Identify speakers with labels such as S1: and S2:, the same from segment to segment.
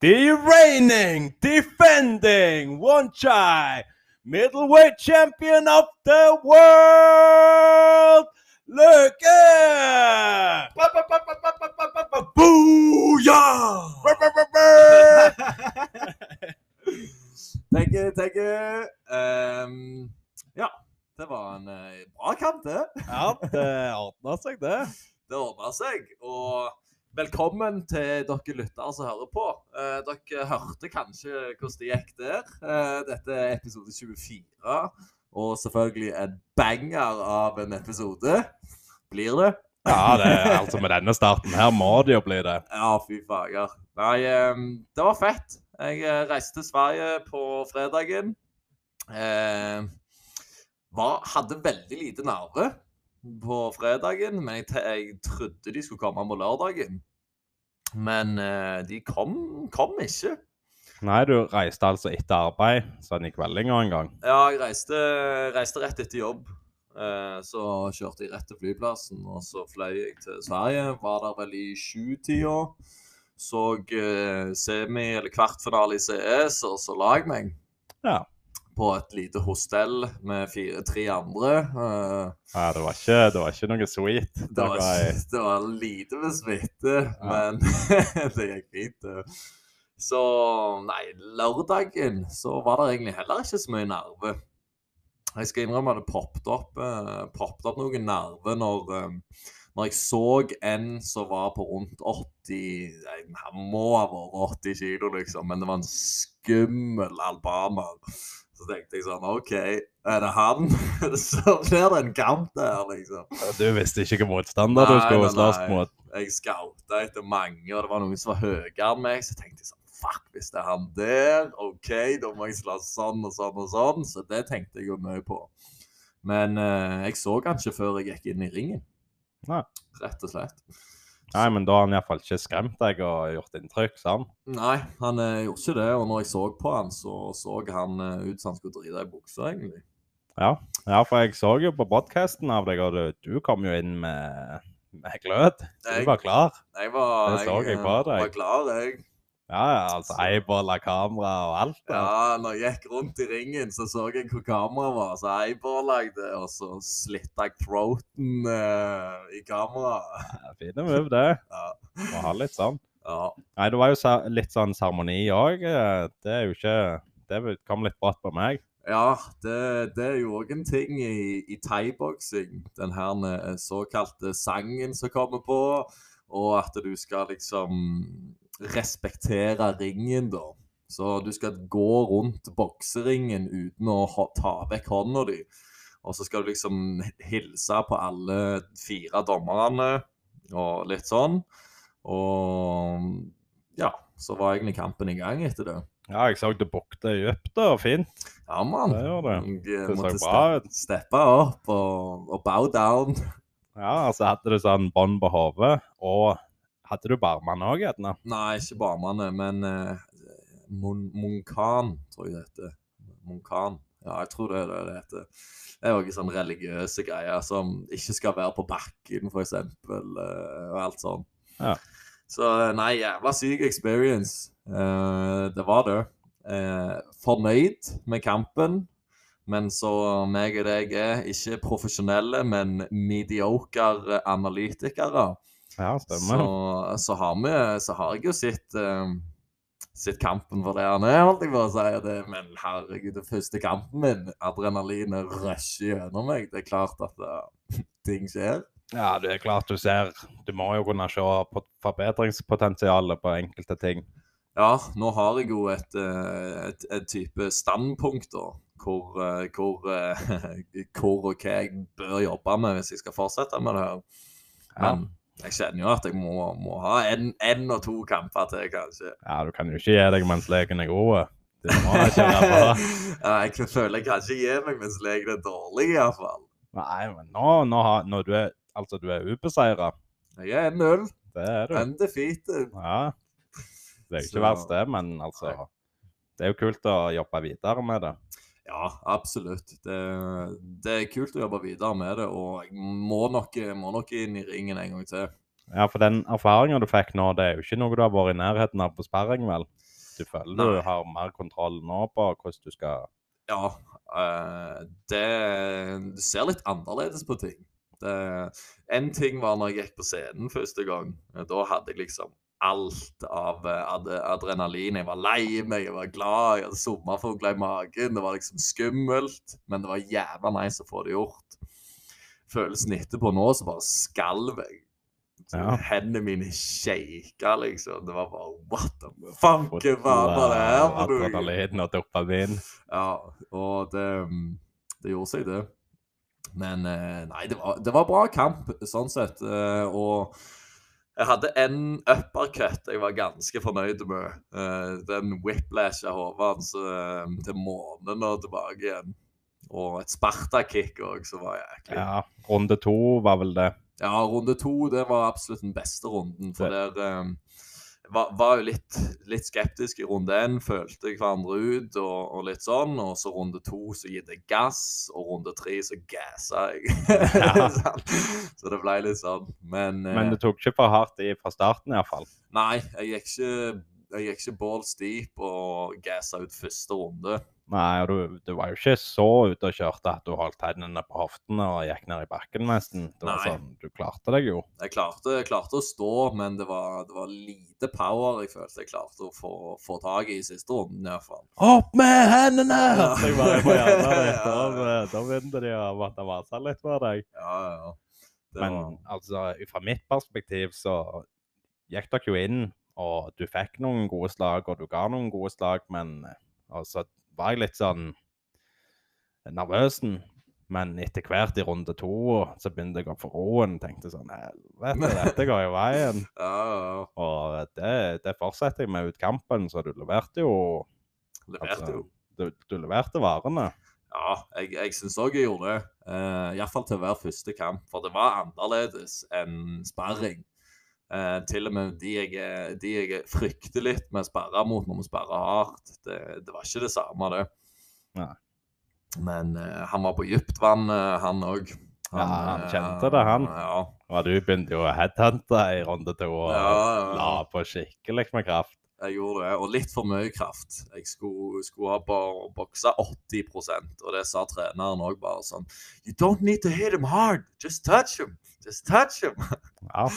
S1: the reigning, defending, one chai middleweight champion of the world, Løke! Booyah!
S2: Thank you, thank you. Ehm, ja, det var en eh, bra kamp, det.
S1: Ja, det ordna eh, seg, det.
S2: Det ordna seg. Og velkommen til dere lyttere som hører på. Eh, dere hørte kanskje hvordan det gikk der. Eh, dette er episode 24, og selvfølgelig en banger av en episode. Blir det?
S1: Ja, det, altså med denne starten her må det jo bli det.
S2: Ja, fy fager. Nei, ehm, det var fett. Jeg eh, reiste til Sverige på fredagen. Eh, var, hadde veldig lite nerve på fredagen, men jeg, te- jeg trodde de skulle komme på lørdagen. Men eh, de kom, kom ikke.
S1: Nei, du reiste altså etter arbeid, sånn i kveldinga en gang.
S2: Ja, jeg reiste, reiste rett etter jobb. Eh, så kjørte jeg rett til flyplassen, og så fløy jeg til Sverige. Var der vel i sjutida. Så eh, semi- eller kvartfinale i CS, og så la jeg meg.
S1: Ja.
S2: På et lite hostell med fire, tre andre. Eh,
S1: Ja, det var ikke, det var ikke noe sweet.
S2: det, var, det var lite med smitte,
S1: Ja.
S2: men det gikk fint. det. Så nei, lørdagen så var det egentlig heller ikke så mye nerve. Jeg skal innrømme at det poppet opp, eh, poppet opp noen nerve når, eh, når jeg så en som var på rundt 80 nei, Han må ha vært 80 kilo, liksom, men det var en skummel albaner. Så tenkte jeg sånn OK, er det han? så blir det en kamp der, liksom.
S1: Du visste ikke hvilken motstander du
S2: Nei,
S1: skulle
S2: nei,
S1: slåss
S2: nei.
S1: mot.
S2: jeg scouta etter mange, og det var noen som var høyere enn meg. Så tenkte jeg sånn Fuck, hvis det er han der, OK, da må jeg slå sånn og sånn og sånn. Så det tenkte jeg jo mye på. Men eh, jeg så han ikke før jeg gikk inn i ringen.
S1: Nei.
S2: Rett og slett.
S1: Nei, men da har han iallfall ikke skremt deg og gjort inntrykk, sant?
S2: Nei, han eh, gjorde ikke det. Og når jeg så på han, så så han eh, ut som han skulle drite i buksa, egentlig.
S1: Ja, for jeg så jo på podkasten av deg, og du, du kom jo inn med, med glød. Du
S2: Jeg-
S1: var klar.
S2: Jeg var,
S1: Det så jeg
S2: eh,
S1: på deg.
S2: var klar, jeg.
S1: Ja, ja, altså eyeball av kamera og alt. da.
S2: Ja, når jeg gikk rundt i ringen, så så jeg hvor kameraet var. Så eyeballa jeg det, og så slitta jeg throaten eh, i kameraet.
S1: Ja, Fine move, det.
S2: Ja.
S1: Må ha litt sånn.
S2: ja.
S1: Nei, det var jo sa- litt sånn seremoni òg. Det er jo ikke Det kom litt brått på meg.
S2: Ja, det, det er jo òg en ting i, i thaiboksing. Den her eh, såkalte sangen som kommer på, og at du skal liksom respektere ringen, da. Så du skal gå rundt bokseringen uten å ha, ta vekk hånda di. Og så skal du liksom hilse på alle fire dommerne og litt sånn. Og ja, så var egentlig kampen i gang etter det.
S1: Ja, jeg så du bukte dypt og fint.
S2: Ja, mann.
S1: Det gjør det.
S2: Jeg eh,
S1: Det så
S2: måtte
S1: bra
S2: ste- steppe opp og, og bow down.
S1: Ja, altså hadde du sånn bånd på hodet, og hadde du barmene òg, gjerne?
S2: Nei, ikke barmene, men eh, Mon Monkan, tror jeg det heter. Monkan. Ja, jeg tror det er det det heter. Det er jo ikke sånn religiøse greier som ikke skal være på bakken, for eksempel, eh, og alt sånn.
S1: Ja.
S2: Så eh, nei, jævla syk experience. Eh, det var det. Eh, fornøyd med kampen, men så meg og deg er ikke profesjonelle, men mediocre analytikere.
S1: Ja, stemmer.
S2: Så, så, har vi, så har jeg jo sett, eh, sett kampen for det han er, holdt jeg på å si. og Det, men herregud, den første kampen min, adrenalinet rusher gjennom meg. Det er klart at eh, ting skjer.
S1: Ja, det er klart du ser. Du må jo kunne se på forbedringspotensialet på enkelte ting.
S2: Ja, nå har jeg jo et, eh, et, et type standpunkt, da. Hvor, eh, hvor, eh, hvor og hva jeg bør jobbe med hvis jeg skal fortsette med det her.
S1: Ja.
S2: Men jeg kjenner jo at jeg må, må ha en- en og to kamper til, kanskje.
S1: ja, du kan jo ikke gi deg mens leken er god. Du må kjøre på.
S2: Ja, jeg føler jeg kan ikke gi meg mens legen er dårlig, iallfall.
S1: Nei, men nå, nå har, når du er Altså, du er ubeseira.
S2: Jeg er 1-0.
S1: Det er du.
S2: Undefeated.
S1: Ja. Det er jo
S2: Så-
S1: ikke verst, det, men altså
S2: Nei.
S1: Det er jo kult å jobbe videre med det.
S2: Ja, absolutt. Det, det er kult å jobbe videre med det, og jeg må nok, må nok inn i ringen en gang til.
S1: Ja, for den erfaringa du fikk nå, det er jo ikke noe du har vært i nærheten av på sperring, vel? Du føler
S2: Nei.
S1: du har mer kontroll nå på hvordan du skal
S2: Ja, eh, det Du ser litt annerledes på ting. Det- En ting var når jeg gikk på scenen første gang. Eh, Da hadde jeg liksom alt av eh, ad adrenalin. Jeg var lei meg, jeg var glad, jeg hadde sommerfugler i magen. Det var liksom skummelt, men det var jævla nice å få det gjort. Følelsen etterpå nå, så bare skalv jeg. Så
S1: Ja.
S2: Hendene mine shaka, liksom. Det var bare What the fuck? Hva var det her for noe?
S1: eh, Adrenalin og dopamin.
S2: Ja, og det, mm, det gjorde seg, det. Men eh, nei, det var, det var bra kamp, sånn sett. eh, Og jeg hadde en uppercut jeg var ganske fornøyd med. Eh, Den whiplash av hodet hans eh, til månen og tilbake igjen. Og et spartakick òg, som var jæklig.
S1: Ja, runde to var vel det.
S2: Ja, runde to det var absolutt den beste runden. For
S1: Det-
S2: der eh, var, var jo litt, litt skeptisk i runde én. Følte hverandre ut og, og litt sånn. Og så runde to så gitt jeg gass, og runde tre så gassa jeg.
S1: Ja.
S2: Sånn. så det ble litt sånn. Men, eh,
S1: Men du tok ikke for hardt i fra starten iallfall.
S2: nei, jeg gikk ikke jeg gikk ikke balls deep og gassa ut første runde.
S1: Nei, og du, du var jo ikke så ute og kjørte at du holdt hendene på hoftene og gikk ned i bakken nesten. Det var
S2: Nei.
S1: sånn, Du klarte deg jo.
S2: Jeg klarte, jeg klarte å stå, men det var, det var lite power jeg følte jeg klarte å få, få tak i i siste runden. i hvert fall.
S1: Opp med hendene!
S2: Ja.
S1: Jeg bare på hjernen ditt,
S2: Ja.
S1: og, eh, Da begynte de å måtte vase litt for deg.
S2: Ja, ja, ja. Det
S1: Men
S2: var-
S1: altså, fra mitt perspektiv så gikk dere jo inn, og du fikk noen gode slag, og du ga noen gode slag, men eh, altså, var jeg litt sånn nervøsen. Men etter hvert i runde to så begynte jeg å få roen. Tenkte sånn Helvete, dette går jo veien.
S2: Ja, ja.
S1: Og det, det fortsetter jeg med ut kampen, så du leverte jo Altså
S2: Leverte jo.
S1: Du, du leverte varene.
S2: Ja, jeg, jeg syns òg jeg gjorde det. Uh, Iallfall til hver første kamp, for det var annerledes enn sparring. Eh, til og med de jeg, er- de jeg frykter litt med å sperre mot når vi sperrer hardt, det, det var ikke det samme, det.
S1: Nei.
S2: Men eh, han var på dypt vann, eh, han òg.
S1: Ja, han kjente det, han.
S2: Ja,
S1: Og du begynte jo å headhunte i runde to og
S2: Ja, ja, ja.
S1: la på skikkelig med kraft.
S2: Jeg gjorde det, og litt for mye kraft. Jeg skulle, skulle ha bare boksa 80 og det sa treneren òg bare sånn You don't need to hit him hard. Just touch him. Just touch him.
S1: Ja,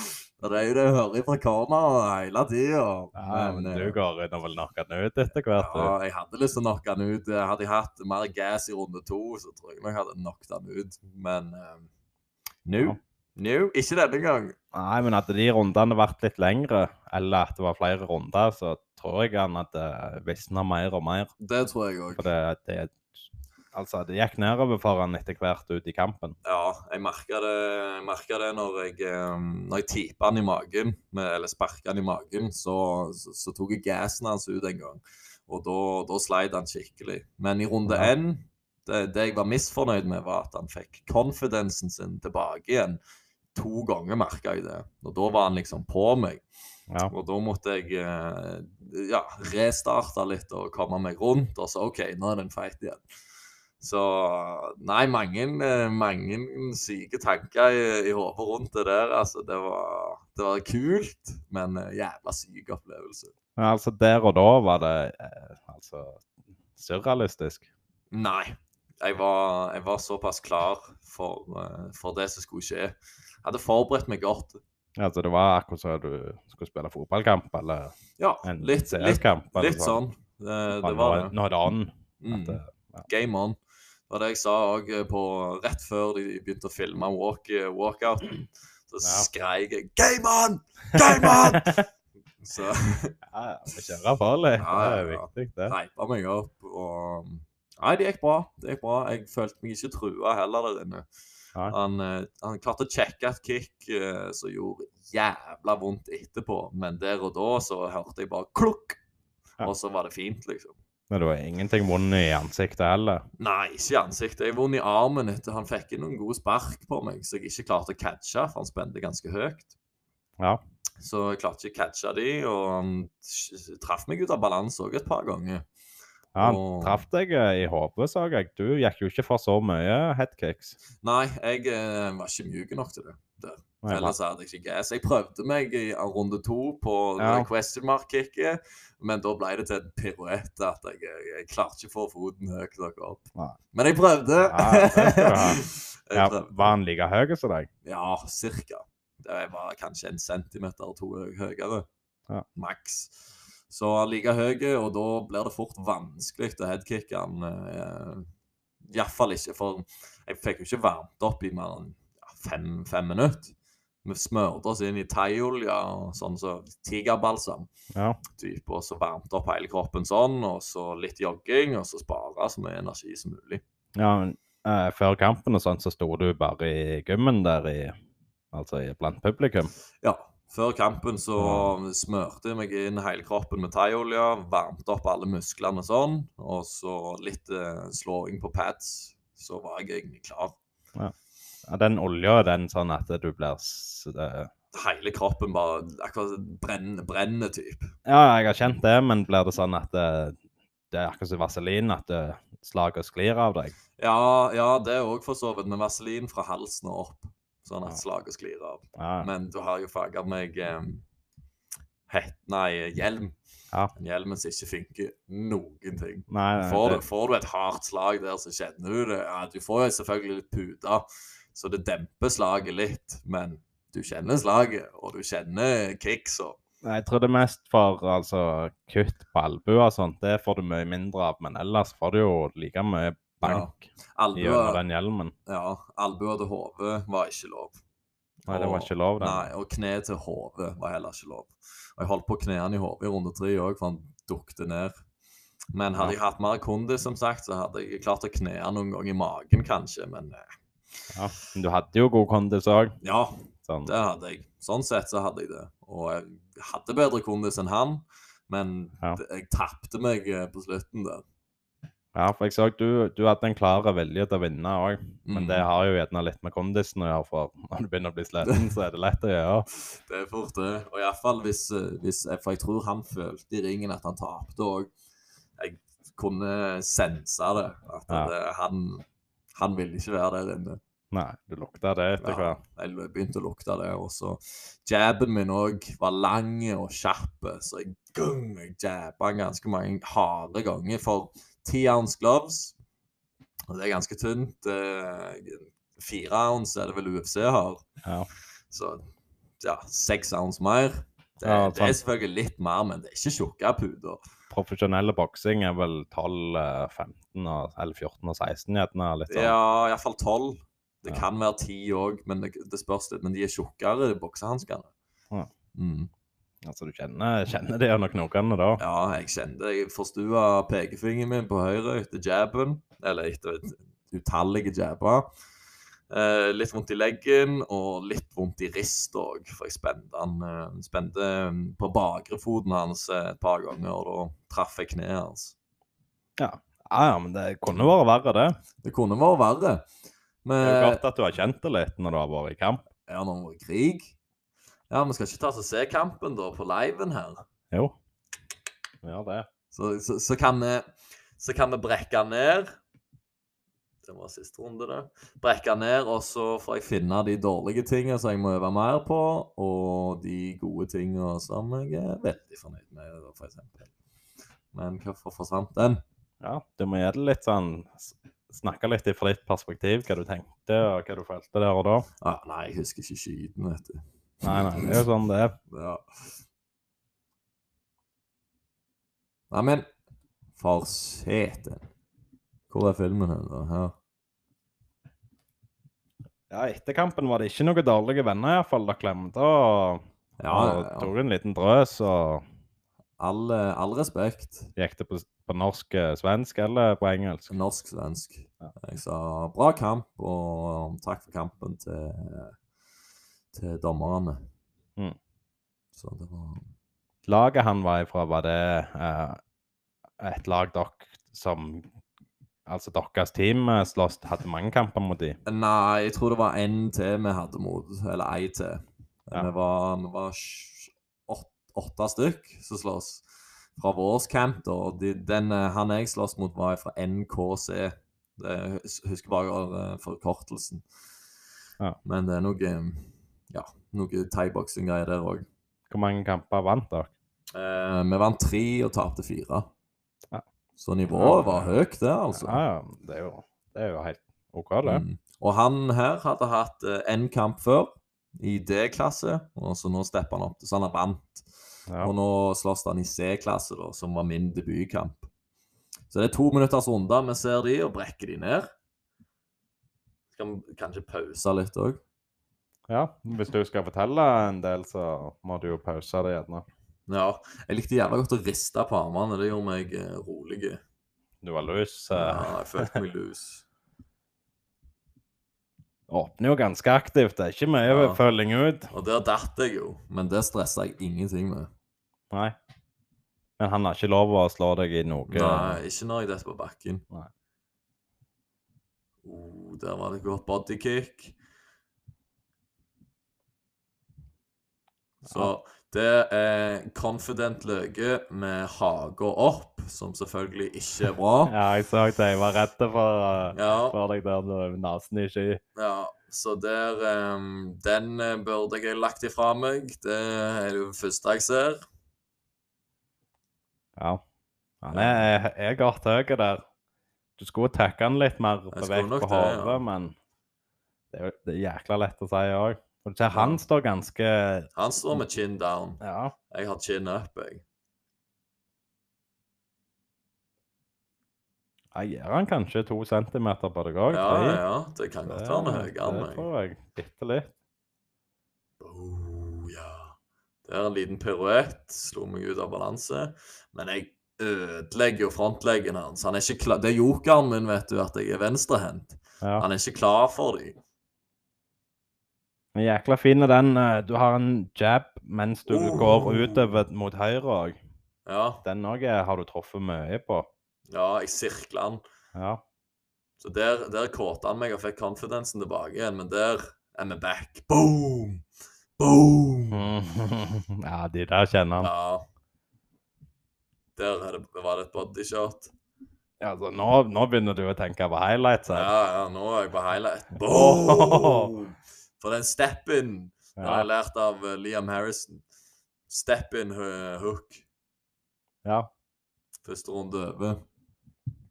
S2: Og det er jo det jeg hører fra corneren hele tida.
S1: ja men du
S2: eh,
S1: går inn og vil knocke han ut etter hvert.
S2: ja,
S1: du.
S2: jeg hadde lyst til å knocke han ut. Eh, Hadde jeg hatt mer gass i runde to, så tror jeg nok jeg hadde knocket han ut. Men uh, nå
S1: Ja.
S2: Nå? Ikke denne gang.
S1: Nei, men hadde de rundene vært litt lengre, eller at det var flere runder, så tror jeg han hadde visna mer og mer.
S2: Det tror jeg òg.
S1: For det, det Altså, det gikk nedover for han etter hvert ut i kampen.
S2: Ja, jeg merka det, jeg merket det når jeg, eh, når jeg tippa han i magen, med, eller sparka han i magen, så, så, så tok jeg gassen hans ut en gang. Og da, da sleit han skikkelig. Men i runde
S1: Ja.
S2: én det, det jeg var misfornøyd med, var at han fikk confidensen sin tilbake igjen. To ganger merka jeg det. Og da var han liksom på meg.
S1: Ja.
S2: Og da måtte jeg eh, ja, restarte litt og komme meg rundt, og så OK, nå er det en fight igjen. Så Nei, mange, eh, mange syke tanker i, i hodet rundt det der. Altså, det var, det var kult, men eh, jævla syk opplevelse.
S1: Men altså, der og da var det eh, altså surrealistisk.
S2: Nei. Jeg var, jeg var såpass klar for, eh, for det som skulle skje. Jeg hadde forberedt meg godt.
S1: Altså, det var akkurat som du skulle spille fotballkamp eller
S2: Ja,
S1: en
S2: litt, litt,
S1: CS-kamp. eller
S2: litt sånn. Det, det
S1: Bare
S2: var
S1: nå-
S2: det.
S1: Nå er det on.
S2: Mm.
S1: At eh, det,
S2: Game on. Det var det jeg sa òg rett før de begynte å filme walk, eh, walkouten. Så
S1: Ja.
S2: skreik jeg 'Game on! Game on!' Så
S1: ja, ja, vi kjører på litt.
S2: Ja,
S1: Det
S2: ja,
S1: er
S2: ja.
S1: viktig, det.
S2: reipa meg opp. Og mm, Nei, det gikk bra. Det gikk bra. Jeg følte meg ikke trua heller der inne.
S1: Nei.
S2: Han, eh, han klarte å sjekke et kick eh, som gjorde jævla vondt etterpå, men der og da så hørte jeg bare klukk,
S1: Ja.
S2: og så var det fint, liksom.
S1: Men det var ingenting vondt i ansiktet heller.
S2: Nei, ikke i ansiktet. Jeg vond i armen etter han fikk inn noen gode spark på meg, så jeg ikke klarte å catche, for han spente ganske høyt.
S1: Ja.
S2: Så jeg klarte ikke å catche de, og han s- traff meg ut av balanse òg et par ganger.
S1: Ja, Han
S2: Og-
S1: traff deg eh, i hodet, så jeg. Du gikk jo ikke for så mye headkicks.
S2: Nei, jeg eh, var ikke mjuk nok til det. Der.
S1: Nei,
S2: Ellers hadde jeg ikke gass. Jeg prøvde meg i runde to på
S1: Ja.
S2: det question mark-kicket, men da ble det til en piruett at jeg, eh, jeg klarte ikke å få foten høyt nok opp.
S1: Nei.
S2: Men jeg prøvde.
S1: Ja, det skal du ha.
S2: Jeg
S1: ja,
S2: prøvde.
S1: var han like høy som deg?
S2: Ja, cirka. Det var kanskje en centimeter eller to hø- høyere.
S1: Ja.
S2: Maks. Så han ligger høy, og da blir det fort vanskelig å headkicke han. eh, i hvert fall ikke, for jeg fikk jo ikke varmt opp i mer enn ja, fem, fem minutter. Vi smørte oss inn i thaiolje og sånn som tigerbalsam.
S1: Ja.
S2: Typ, og så varmte opp hele kroppen sånn, og så litt jogging, og så spare så mye energi som mulig.
S1: ja men, eh, før kampen og sånn, så sto du bare i gymmen der i Altså i- blant publikum.
S2: Ja. Før kampen så smørte jeg meg inn hele kroppen med thaiolje, varmte opp alle musklene sånn, og så litt eh, slåing på pads. Så var jeg egentlig klar.
S1: Ja, den olja er den sånn at du blir s- eh,
S2: Hele kroppen bare akkurat brenner, brenner typ.
S1: Ja, jeg har kjent det, men blir det sånn at det, det er akkurat som vaselin, at det slaget sklir av deg?
S2: Ja, ja det er òg for så vidt, med vaselin fra halsen og opp, sånn at slaget sklir av.
S1: Ja,
S2: Men du har jo faga meg eh, hett, nei, hjelm.
S1: Ja.
S2: En hjelm som ikke funker noen ting.
S1: nei, nei,
S2: Får du,
S1: Eh, det,
S2: får du et hardt slag der, så kjenner du det. Ja, du får jo selvfølgelig litt puter, så det demper slaget litt. Men du kjenner slaget, og du kjenner kicksa.
S1: nei, jeg tror det er mest for altså, kutt på albuer og sånt. Det får du mye mindre av, men ellers får du jo like mye bank gjennom
S2: Albuer
S1: den hjelmen.
S2: ja, albuer til hodet var ikke lov.
S1: Nei, det var
S2: Og-
S1: ikke lov, det.
S2: Nei, og kne til hodet var heller ikke lov. Og jeg holdt på å kne han i hodet i runde tre òg, for han dukte ned. Men
S1: Ja.
S2: hadde jeg hatt mer kondis, som sagt, så hadde jeg klart å kne han noen gang i magen, kanskje. Men eh,
S1: Ja, men du hadde jo god kondis òg.
S2: ja,
S1: Sånn.
S2: Det hadde jeg. Sånn sett så hadde jeg det. Og jeg hadde bedre kondis enn han, men
S1: Ja.
S2: det- jeg tapte meg eh, på slutten der.
S1: Ja, for jeg så du, du hadde en klar vilje til å vinne òg, men
S2: Mm.
S1: det har jo gjerne litt med kondisen å gjøre, for når du begynner å bli sliten, så er det lett å gjøre.
S2: Det er fort det. Og iallfall hvis, eh, hvis jeg- For jeg tror han følte i ringen at han tapte òg. Jeg kunne sense det. At
S1: Ja.
S2: det, han, han ville ikke være der inne.
S1: Nei, du lukta det etter
S2: Ja,
S1: hvert.
S2: jeg begynte å lukte det. Og så jabben min òg var lang og kjapp, så jeg, gung, jeg jabba han ganske mange harde ganger for ti ounce gloves. Og det er ganske tynt. eh, Fire ounce er det vel UFC har.
S1: Ja.
S2: Så ja, seks ounce mer. Det,
S1: Ja,
S2: det er
S1: sant.
S2: selvfølgelig litt mer, men det er ikke tjukke puter.
S1: Profesjonelle boksing er vel 12, eh, 15, og, eller 14 og 16 gjerne. litt sånn.
S2: Ja, iallfall tolv. Det
S1: Ja.
S2: kan være ti òg, men det, det spørs litt. Men de er tjukkere, de boksehanskene.
S1: Ja.
S2: Mm.
S1: Altså, du kjenner, kjenner det under knokene da.
S2: Ja, jeg kjente jeg forstua pekefingeren min på høyre etter jabben. Eller etter ut- utallige jabber. Eh, litt vondt i leggen og litt vondt i rist òg, for jeg spente, han, eh, spente eh, på bakrefoten hans eh, et par ganger, og da traff jeg kneet hans.
S1: Ja, ja, men det kunne vært verre, det.
S2: Det kunne vært verre.
S1: Det er jo
S2: Men
S1: godt at du har kjent det litt når du har vært i kamp.
S2: er det noe krig? Ja, vi skal ikke ta oss og se kampen da på liven her.
S1: Jo. Ja, det.
S2: Så, så, så, kan vi, så kan vi brekke han ned. Det var siste runde, det. Brekke han ned, og så får jeg finne de dårlige tingene som jeg må øve mer på, og de gode tingene som jeg er veldig fornøyd med, da, for eksempel. Men hvorfor forsvant den?
S1: Ja, du må gjøre det litt sånn s- Snakke litt fra ditt perspektiv, hva du tenkte og hva du følte der og da.
S2: Ah, nei, jeg husker ikke skyten, vet du.
S1: Nei, nei, det er jo sånn det er.
S2: Ja. Nei, men For seten. Hvor er filmen hen, da? Her.
S1: Ja, Etter kampen var det ikke noen dårlige venner, iallfall. Dere glemte og,
S2: Ja,
S1: og
S2: ja, ja.
S1: tok en liten drøs og
S2: All, eh, all respekt.
S1: gikk det på, s- på norsk, eh, svensk eller på engelsk.
S2: Norsk-svensk.
S1: Ja.
S2: Jeg sa bra kamp, og takk for kampen til, til dommerne.
S1: Mm.
S2: Så det var
S1: Laget han var ifra, var det eh, et lag dere som Altså deres team eh, slåss hadde mange kamper mot de.
S2: Nei, jeg tror det var én til vi hadde mot, eller ei til.
S1: Ja.
S2: Vi var, vi var sj- åt, åtte stykk som slåss fra vår camp. Da. De, den eh, han jeg slåss mot, var fra NKC. Det, jeg hus- husker bare eh, forkortelsen.
S1: Ja.
S2: Men det er noe eh, ja, noe thaiboksing-greier der òg.
S1: Hvor mange kamper vant dere?
S2: Eh, vi vant tre og tapte fire.
S1: Ja.
S2: Så nivået var høyt, det, altså.
S1: Ja, ja, det er jo, det er jo helt OK, det.
S2: Mm. Og han her hadde hatt én kamp før, i D-klasse, og så nå stepper han opp til så han har vant.
S1: Ja.
S2: Og nå slåss han i C-klasse, da, som var min debutkamp. Så det er to minutters runder. Vi ser de og brekker de ned. Skal vi kanskje pause litt òg?
S1: ja. Hvis du skal fortelle en del, så må du jo pause det gjerne.
S2: Ja. Jeg likte jævla godt å riste på armene. Det gjorde meg eh, rolig.
S1: Du var løs. eh,
S2: Ja, jeg følte meg lus.
S1: Åpner jo ganske aktivt. Det er ikke mye
S2: Ja.
S1: følging ut.
S2: Og der datt jeg jo, men det stressa jeg ingenting med.
S1: Nei. Men han har ikke lov å slå deg i noe.
S2: Nei, ikke når jeg detter på bakken.
S1: Nei.
S2: Oh, der var det godt bodykick. Så det er confident løke med haga opp, som selvfølgelig ikke er bra.
S1: Ja, jeg så det. Jeg var redd for, eh,
S2: Ja,
S1: for deg der med nesen i sky.
S2: ja. Så der em, Den eh, burde jeg lagt ifra meg. Det er det første jeg ser.
S1: Ja. Han er, er godt høy der. Du skulle takke han litt mer
S2: Jeg
S1: på
S2: skulle
S1: vekk
S2: nok
S1: på
S2: det,
S1: hodet,
S2: ja.
S1: men det er, jo- det er jækla lett å si òg. Og du ser han står ganske
S2: Han står med chin down.
S1: Ja.
S2: Jeg har chin up, jeg.
S1: Jeg gir han kanskje to centimeter på deg òg.
S2: Ja, ja, ja. Det kan godt være han er høyere enn
S1: Det
S2: meg.
S1: tror jeg. Bitte litt.
S2: Oh, ja. Det er en liten piruett. Slo meg ut av balanse. Men jeg ødelegger jo frontleggen hans. Han er ikke klar. Det er jokeren min, vet du, at jeg er venstrehendt.
S1: Ja.
S2: Han er ikke klar for dem.
S1: Men jækla fin er den. eh, Du har en jab mens du
S2: Oh.
S1: går utover mot høyre òg.
S2: Ja,
S1: Den òg har du truffet mye på.
S2: ja, jeg sirkler han.
S1: Ja.
S2: Så der, der kåta han meg og fikk confidensen tilbake igjen, men der er vi back. Boom! Boom!
S1: ja, de der kjenner han.
S2: Ja. Der er det, var det et bodyshot.
S1: Altså, nå, nå begynner du å tenke på highlights her.
S2: Ja, ja, nå er jeg på highlight. Boom! For den step-in den har jeg lært av eh, Liam Harrison. Step-in hook.
S1: Ja.
S2: Første runde over.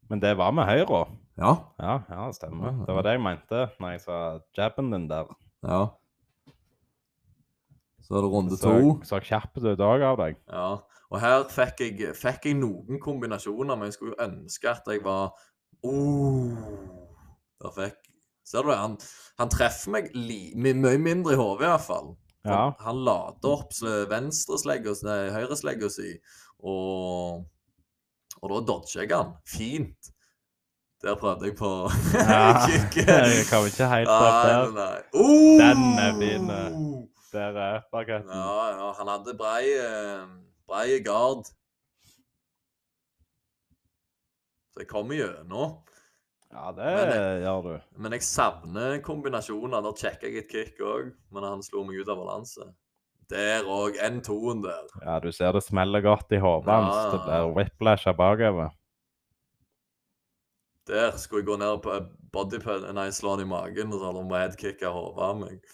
S1: Men det var med høyre.
S2: Ja.
S1: Ja, ja, det stemmer.
S2: Ja,
S1: Det var det jeg mente når jeg sa jabben din der.
S2: ja. Så er det runde
S1: Så,
S2: to.
S1: så kjapp du er òg av deg.
S2: Ja. Og her fikk jeg, fikk jeg noen kombinasjoner, men jeg skulle jo ønske at jeg var oh. Der fikk Ser du det? Han, han treffer meg li, my, mye mindre i hodet, iallfall.
S1: Ja.
S2: Han, han lader opp sle- venstreslegga si, nei, høyreslegga si, og Og da dodger jeg han. Fint. Der prøvde jeg på
S1: Ja. Jeg
S2: kicket.
S1: kom ikke helt opp
S2: Nei,
S1: der.
S2: nei. Oh!
S1: Den er fin, eh. Der er uppercutten.
S2: Ja, ja. Han hadde brei, eh, brei gard. Så jeg kommer gjennom.
S1: Ja, det
S2: Men
S1: gjør du.
S2: Men jeg savner kombinasjoner. Der sjekker jeg et kick òg, men han slo meg ut av balanse. Der òg. N2-en der.
S1: Ja, du ser det smeller godt i hodet
S2: Ja.
S1: hans. Det blir whiplasha bakover.
S2: Der skulle jeg gå ned på bodypad Nei, slå han i magen og så hadde han headkicka hodet av meg.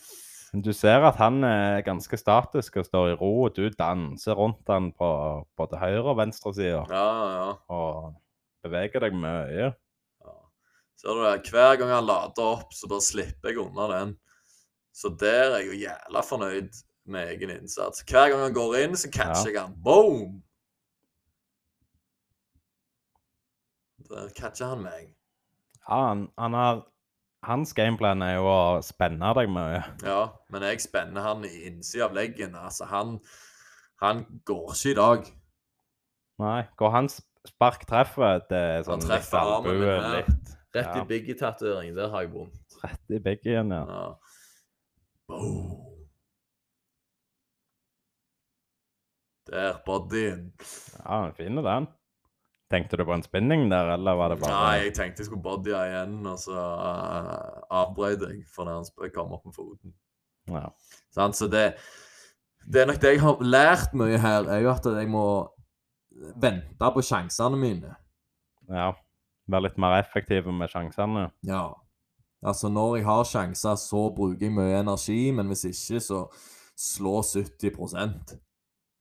S1: Men Du ser at han er ganske statisk og står i ro. Du danser rundt han på både høyre- og venstresida
S2: Ja, ja,
S1: og beveger deg mye.
S2: ja. Ser du det? Hver gang han lader opp, så bare slipper jeg unna den. Så der er jeg jo jævla fornøyd med egen innsats. Hver gang han går inn, så catcher jeg han. Boom! Der catcher han meg.
S1: Ja, han, han har Hans gameplan er jo å spenne deg mye.
S2: Ja, men jeg spenner han i innsida av leggen. Altså, han, han går ikke i dag.
S1: Nei, hvor hans spark treffer, det er
S2: Han
S1: sånn litt
S2: treffer armen min
S1: albue,
S2: her.
S1: litt
S2: Rett
S1: Ja.
S2: i biggie-tatovering. Der har jeg vondt.
S1: rett i begge ja.
S2: Ja. Boom. Der, bodyen.
S1: Ja, han finner den. Tenkte du på en spinning der, eller var det bare
S2: Nei, jeg tenkte jeg skulle bodya igjen, og så uh, avbrøt jeg fordi han sp- kom opp med foten.
S1: Ja.
S2: Sant, Så det, det er nok det jeg har lært mye her, er jo at jeg må vente på sjansene mine.
S1: ja. Være litt mer effektiv med sjansene.
S2: Ja. Altså, når jeg har sjanser, så bruker jeg mye energi, men hvis ikke, så slå 70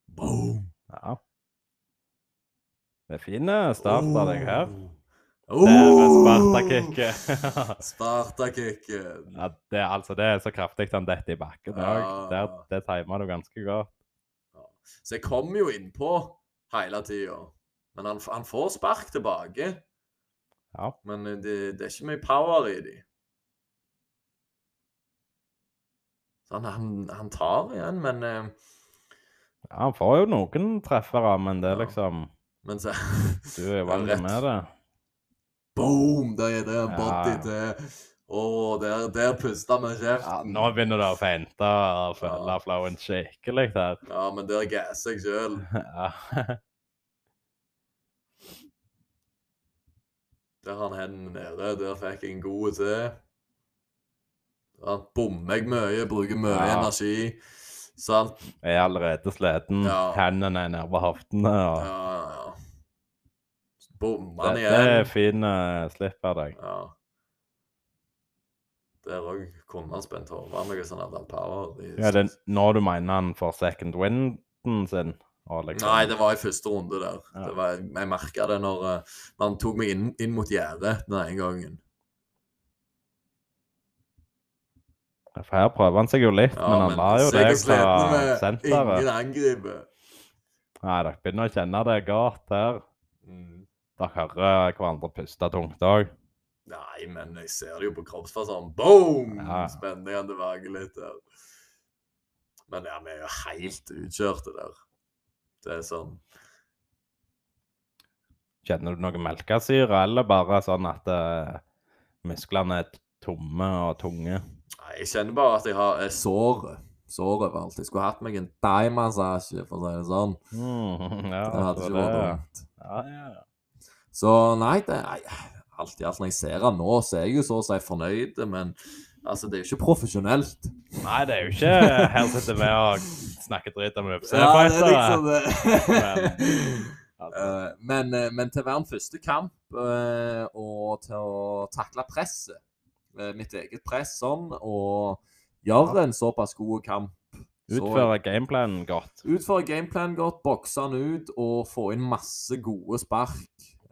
S2: Boom!
S1: Ja. Det er fin start av deg her.
S2: Oh.
S1: Der er Sparta-kicket.
S2: Spartakicken.
S1: ja, det, er- altså, det er så kraftig han detter i bakken òg.
S2: Ja.
S1: Det timer du ganske godt.
S2: Så jeg kommer jo innpå hele tida. Men han, han får spark tilbake.
S1: Ja.
S2: Men det, det er ikke mye power i de. Så han, han, han tar igjen, men, eh,
S1: ja, han får jo noen treffere, men det er
S2: Ja.
S1: liksom
S2: men så
S1: Du er jo vant
S2: Rett.
S1: med det.
S2: Boom! Der er det en
S1: Ja.
S2: body til. Å, der, der puster vi
S1: Ja,
S2: kjeften.
S1: nå begynner du å feinte og føle flowen skikkelig der.
S2: Ja, men der gasser jeg sjøl.
S1: Ja.
S2: Der har han hendene nede. Der fikk jeg en god til. Sant? Bommer jeg mye, bruker mye
S1: Ja.
S2: energi. Sant?
S1: Jeg er allerede sliten.
S2: Ja.
S1: Hendene er nede på hoftene.
S2: Ja,
S1: Og...
S2: ja. ja. Bommer han
S1: Det, det er
S2: igjen.
S1: fin eh, slipp av deg.
S2: Ja. Der òg kunne han spent hodet med hvis han hadde hatt sånn power. i-
S1: Ja, det er når du mener han får second winden sin. Og liksom,
S2: Nei, det var i første runde der.
S1: Ja.
S2: Det var, jeg merka det når, eh, når han tok meg inn, inn mot gjerdet den ene gangen.
S1: For her prøver han seg jo litt,
S2: Ja,
S1: men han lar jo
S2: så jeg
S1: deg
S2: er
S1: ta
S2: sliten med
S1: senteret.
S2: Ingen angriper.
S1: Nei, dere begynner å kjenne det godt her.
S2: Mm.
S1: Dere hører hverandre puste tungt òg.
S2: Nei, men jeg ser det jo på kroppsfasongen. Boom!
S1: Ja.
S2: Spenner jeg tilbake litt der. Men ja, vi er jo helt utkjørte der. Det er sånn
S1: Kjenner du noe melkesyre, eller bare sånn at eh, musklene er tomme og tunge?
S2: Nei, jeg kjenner bare at jeg har eh, sår. Sår overalt. Jeg skulle hatt meg en thaimassasje, for å si det sånn.
S1: Mm, ja,
S2: Det hadde
S1: så
S2: ikke vært
S1: det-
S2: dumt.
S1: Ja, ja. ja.
S2: Så nei, det nei, alt i alt når jeg ser han nå, så er jeg jo så å si fornøyd, men altså, det er jo ikke profesjonelt.
S1: Nei, det er jo ikke Her sitter vi og snakker dritt om
S2: det
S1: UFC-fightere.
S2: er liksom det.
S1: Altså,
S2: Eh, men, eh, men til hver en første kamp, eh, og til å takle presset, eh, mitt eget press sånn, og gjøre en såpass god kamp. så-
S1: Utfører gameplanen godt.
S2: Utføre gameplan godt, bokse han ut og få inn masse gode spark.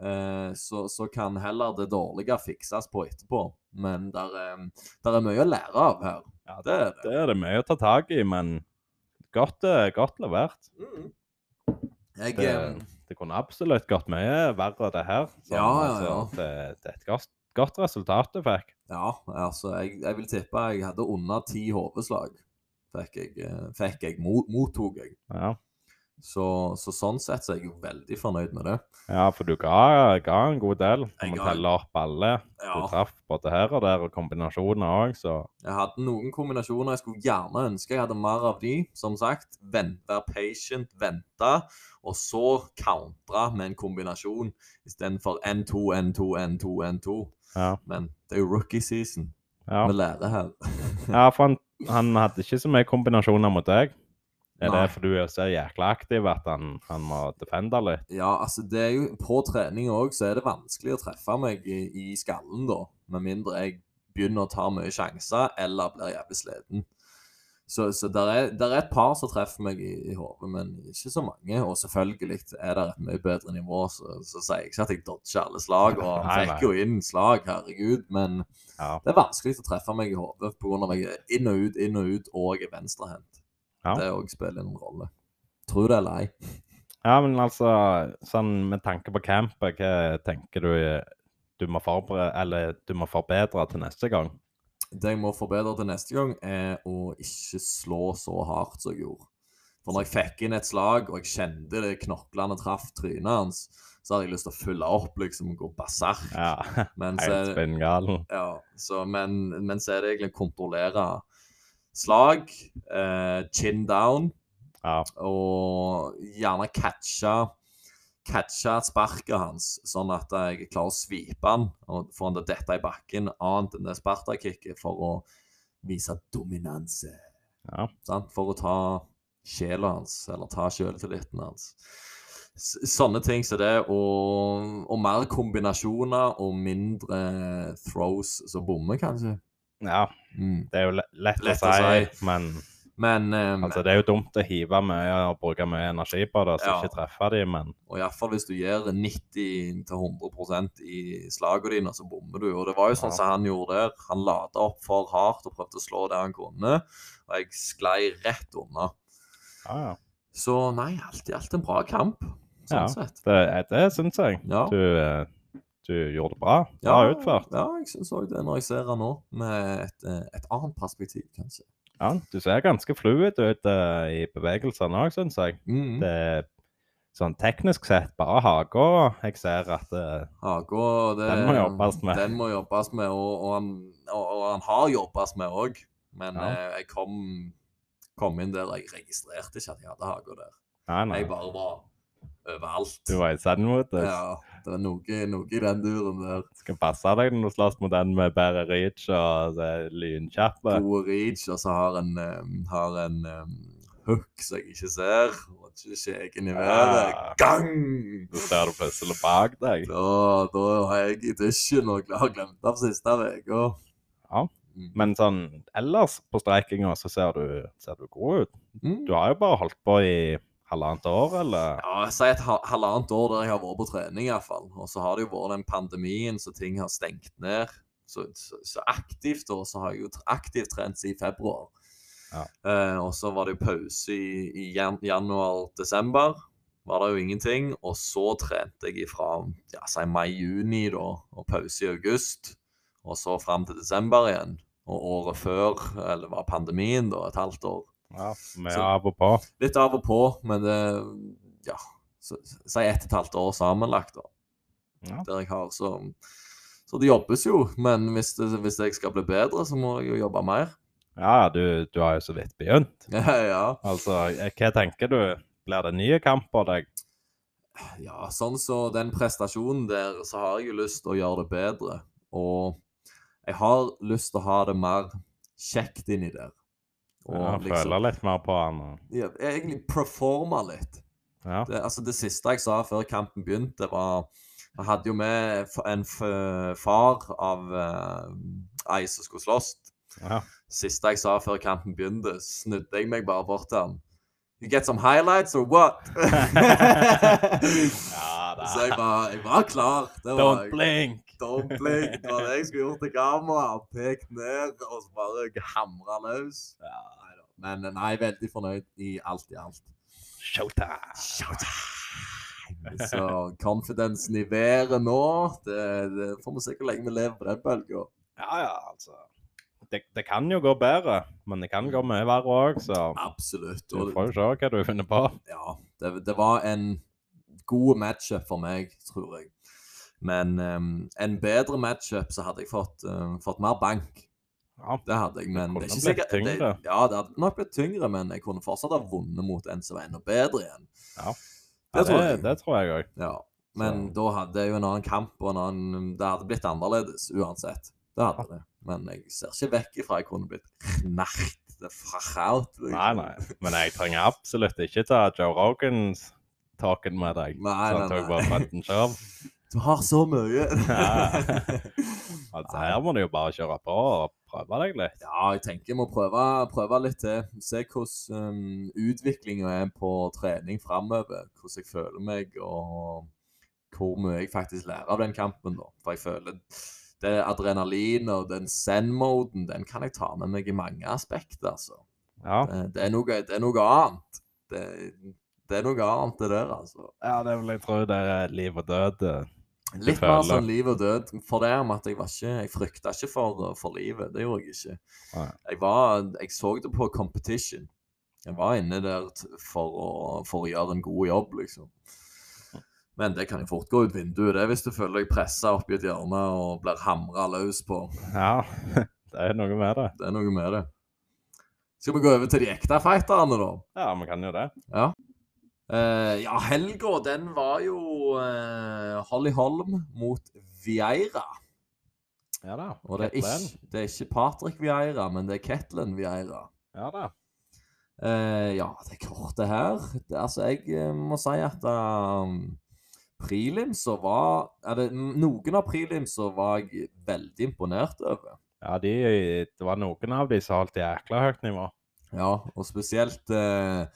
S2: Eh, så, så kan heller det dårlige fikses på etterpå. Men der er, der er mye å lære av her.
S1: Ja,
S2: Det er det.
S1: Det er det mye å ta tak i, men godt, eh, godt levert.
S2: Mm. Jeg,
S1: Det,
S2: eh,
S1: det kunne absolutt gått mye verre, det her. Så,
S2: Ja, ja, ja.
S1: det, det er et godt, godt resultat du fikk.
S2: ja, altså, jeg, jeg vil tippe jeg hadde under ti hodeslag. Fikk jeg, eh, fikk jeg mo- mottok jeg.
S1: Ja,
S2: Så, så sånn sett så er jeg jo veldig fornøyd med det.
S1: ja for du ga, ga en god del. Du
S2: Jeg
S1: må
S2: ga-
S1: telle opp alle. Du
S2: Ja,
S1: traff både her og der, og kombinasjoner òg, så
S2: jeg hadde noen kombinasjoner jeg skulle gjerne ønske jeg hadde mer av de. Som sagt, vent, vær patient, vente, og så countre med en kombinasjon istedenfor N2, N2, N2, N2.
S1: Ja.
S2: Men det er jo rookie season.
S1: ja.
S2: Vi lærer her.
S1: Ja, for han, han hadde ikke så mye kombinasjoner mot deg. Er
S2: Nei.
S1: det fordi du er så jækla aktiv at han, han må defende litt?
S2: Ja, altså det er jo På trening òg så er det vanskelig å treffe meg i, i skallen, da. Med mindre jeg begynner å ta mye sjanser eller blir jævlig sliten. Så, så der, er, der er et par som treffer meg i, i hodet, men ikke så mange. Og selvfølgelig er det et mye bedre nivå, så, så sier jeg ikke at jeg dodger alle slag. Og
S1: Nei,
S2: han
S1: nei.
S2: fikk jo inn slag, herregud, men
S1: Ja.
S2: det er vanskelig å treffe meg i hodet pga. at jeg er inn og ut, inn og ut, og jeg er venstrehendt.
S1: Ja.
S2: Det òg spiller en rolle. Tror det eller ei.
S1: ja, men altså, sånn med tanke på campet, hva tenker du eh, du må, forbere, eller, du må forbedre til neste gang?
S2: Det jeg må forbedre til neste gang, er å ikke slå så hardt som jeg gjorde. For når jeg fikk inn et slag, og jeg kjente det knoklene traff trynet hans, så hadde jeg lyst til å fylle opp, liksom, og gå berserk.
S1: Ja,
S2: men, så,
S1: helt spinngalen.
S2: ja, så, men, men så er det egentlig å kontrollere slag, eh, chin down,
S1: Ja.
S2: og gjerne catche catche sparket hans, sånn at jeg klarer å svipe han og få han til å dette i bakken, annet enn det Sparta-kicket, for å vise dominanse.
S1: Ja.
S2: Sant? For å ta sjela hans, eller ta sjøltilliten hans. s- sånne ting som det, og, og mer kombinasjoner og mindre throws som bommer, kanskje.
S1: Ja,
S2: Mm.
S1: det er jo le- lett,
S2: Lett
S1: å,
S2: å
S1: si,
S2: si.
S1: men
S2: Men um,
S1: altså, det er jo dumt å hive mye og bruke mye energi på det, så
S2: Ja.
S1: ikke treffe de, men
S2: Og iallfall hvis du gir 90-100 i slagene dine, så bommer du. Og det var jo sånn
S1: Ja.
S2: som han gjorde der. Han lada opp for hardt og prøvde å slå det han kunne, og jeg sklei rett unna.
S1: ja, ja.
S2: Så nei, alt i alt en bra kamp, sånn
S1: Ja.
S2: sett.
S1: Det, eh, det syns jeg.
S2: Ja.
S1: Du, eh, du gjorde det bra. Bra utført.
S2: Ja, jeg syns òg det, når jeg ser han nå, med et, eh, et annet perspektiv, kanskje.
S1: Ja, du ser ganske fluid ut eh, i bevegelsene òg, syns jeg.
S2: Mm.
S1: Det er sånn teknisk sett bare haka. Jeg ser at eh,
S2: Haka det-
S1: Den må jobbes med.
S2: Den må jobbes med, og, og, han, og, og han har jobbes med òg. Men
S1: Ja.
S2: eh, jeg kom, kom inn der og jeg registrerte ikke at jeg hadde haka der.
S1: Nei, nei.
S2: Jeg bare var overalt.
S1: Du var i sandmotus.
S2: Ja, det er noe, noe i den duren der.
S1: Skal passe deg når du slåss mot den med bare reach og det er lynkjappe.
S2: Gode reach, og så har en, eh, har en eh, hook som jeg ikke ser. Og ikke kjeken i været.
S1: Ah.
S2: Gang!
S1: Så ser du plutselig bak deg.
S2: Da, da er jeg i dusjen og har glemt det for siste uke. Mm.
S1: Ja. Men sånn ellers på streikinga så ser du, ser du god ut.
S2: Mm.
S1: Du har jo bare holdt på i halvannet år, eller?
S2: Ja, Si et ha- halvannet år der jeg har vært på trening, iallfall. Og så har det jo vært den pandemien så ting har stengt ned. Så, så, så aktivt da, så har jeg jo tr- aktivt trent siden februar.
S1: Ja.
S2: Eh, og så var det jo pause i, i jan januar-desember. Var det jo ingenting. Og så trente jeg ifra ja, si mai-juni, da, og pause i august. Og så fram til desember igjen. Og året før, eller var pandemien, da, et halvt år
S1: Ja, med
S2: Så-
S1: av og på.
S2: litt av og på, men det Ja, så, si ett og et halvt år sammenlagt, da.
S1: Ja.
S2: Der jeg har så Så det jobbes jo, men hvis, det, hvis jeg skal bli bedre, så må jeg jo jobbe mer.
S1: Ja, du, du har jo så vidt begynt.
S2: Ja, ja.
S1: Altså, eh, hva tenker du? Blir det nye kamper deg?
S2: ja sånn så den prestasjonen der, så har jeg jo lyst til å gjøre det bedre. Og jeg har lyst til å ha det mer kjekt inni der. Og
S1: Ja,
S2: liksom
S1: føler litt mer på han. og-
S2: ja, Egentlig performe litt.
S1: Ja.
S2: Det, altså det siste jeg sa før kampen begynte, var Jeg hadde jo med f- en f- far av eh, ei som skulle slåss.
S1: ja.
S2: Siste jeg sa før kampen begynte, snudde jeg meg bare bort til han. You get some highlights or what?
S1: Ja da.
S2: Så jeg var, jeg var klar. Det var,
S1: Don't blink!
S2: Don't blink. Det var det jeg skulle gjort til kamera. Pekt ned og så bare hamra løs. Neida. Men eh, nei, veldig fornøyd i alt i alt.
S1: Showtime!
S2: Showtime! Så confidensen i været nå, det, det får vi se hvor lenge vi lever på den bølga.
S1: Ja, ja, altså. Det, det kan jo gå bedre, men det kan gå mye verre òg, så
S2: Absolutt.
S1: du
S2: Og
S1: får jo se hva du finner på.
S2: ja, det, det var en god matchup for meg, tror jeg. Men em, en bedre matchup så hadde jeg fått, em, fått mer bank.
S1: Ja.
S2: Det hadde jeg, men
S1: kunne
S2: det er ikke
S1: blitt
S2: sikkert det-
S1: tyngre.
S2: Ja, det hadde nok blitt tyngre, men jeg kunne fortsatt ha vunnet mot en som var enda bedre igjen.
S1: Ja. Ja,
S2: Det tror jeg.
S1: Det tror jeg òg.
S2: Ja, men da hadde jeg jo en annen kamp, og en annen, det hadde blitt annerledes uansett. Det hadde det. Men jeg ser ikke vekk ifra jeg kunne blitt knert det fraut. liksom.
S1: Nei, nei. Men jeg trenger absolutt ikke ta Joe Rogans talken med deg.
S2: Nei,
S1: Sånn
S2: nei,
S1: tok
S2: nei.
S1: bare fronten sjøl.
S2: Du har så mye!
S1: Ja. Altså, her må du jo bare kjøre på og prøve deg litt.
S2: Ja, jeg tenker jeg må prøve, prøve litt til. Se hvordan um, utviklinga er på trening framover. Hvordan jeg føler meg, og hvor mye jeg faktisk lærer av den kampen. da. For jeg føler det adrenalinet og den zen-moden, den kan jeg ta med meg i mange aspekter. altså.
S1: Ja.
S2: Det, det, er, noe, det er noe annet. Det, det er noe annet, det der, altså.
S1: ja, det vil jeg tro det er liv og død. eh.
S2: Litt mer
S1: føler-
S2: sånn liv og død. For det om at jeg var ikke Jeg frykta ikke for, for livet. Det gjorde jeg ikke.
S1: Nei.
S2: Jeg var Jeg så det på competition. Jeg var inne der t- for å, for å gjøre en god jobb, liksom. Men det kan jo fort gå ut vinduet, det, hvis du føler deg pressa oppi et hjørne og blir hamra løs på.
S1: Ja, det er noe med det.
S2: Det er noe med det. Skal vi gå over til de ekte fighterne, da?
S1: Ja, vi kan jo det.
S2: Eh, ja, helga, den var jo eh, Holly Holm mot Vieira.
S1: Ja da.
S2: Og det er,
S1: Kettlen.
S2: ikke, det er ikke Patrick Vieira, men det er Ketlin Vieira.
S1: Ja da.
S2: Eh, ja, det kortet her det, Altså, jeg eh, må si at um, prelimsa var eller, Noen av prelimsa var jeg veldig imponert over.
S1: Ja, de, det var noen av de som holdt jækla høyt nivå.
S2: Ja, og spesielt eh,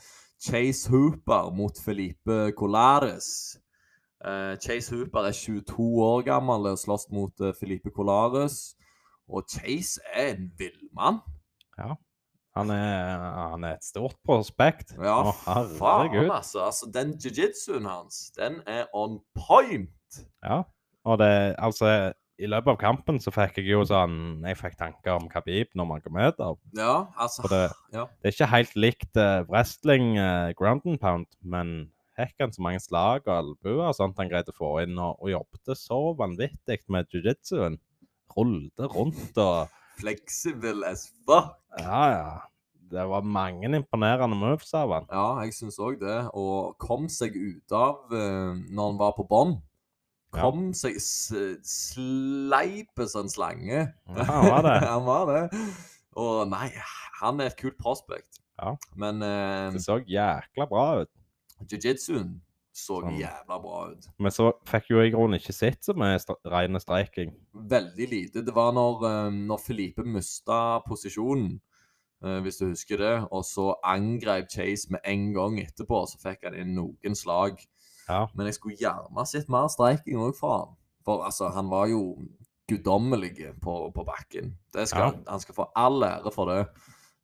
S2: Chase Hooper mot Felipe Colares. Eh, Chase Hooper er 22 år gammel og slåss mot eh, Felipe Colares. Og Chase er en villmann.
S1: Han er, han er et stort prospekt.
S2: Ja,
S1: Å,
S2: faen,
S1: herregud.
S2: altså. altså. Den jiu-jitsuen hans, den er on point.
S1: Ja. Og det, altså, i løpet av kampen så fikk jeg jo sånn Jeg fikk tanker om Khabib når man kom ut av.
S2: Ja, altså
S1: Og det-
S2: ja.
S1: Det er ikke helt likt eh, wrestling eh, ground and pound, men hekken så mange slag og albuer og sånt han greide å få inn, og, og jobbet så vanvittig med jiu-jitsuen. Rullet rundt og
S2: Flexible as fuck.
S1: Ja, ja. Det var mange imponerende moves av han.
S2: Ja, jeg syns òg det. Og kom seg ut av eh, når han var på bånn.
S1: Ja.
S2: Kom seg s sleipes en slange.
S1: Ja, han var det.
S2: han var det. Og nei, han er et kult prospect.
S1: Ja.
S2: Men eh,
S1: Det så jækla bra ut.
S2: jiu-jitsuen så
S1: Sånn.
S2: jævla bra ut.
S1: Men så fikk jo jeg i grunnen ikke sett så mye stre- rene streiking.
S2: Veldig lite. Det var når, eh, når Felipe mista posisjonen, eh, hvis du husker det, og så angrep Chase med en gang etterpå, og så fikk han inn noen slag.
S1: Ja.
S2: Men jeg skulle gjerne sett mer streiking òg fra han. For altså, han var jo guddommelig på, på bakken. Det skal, Han skal få all ære for det.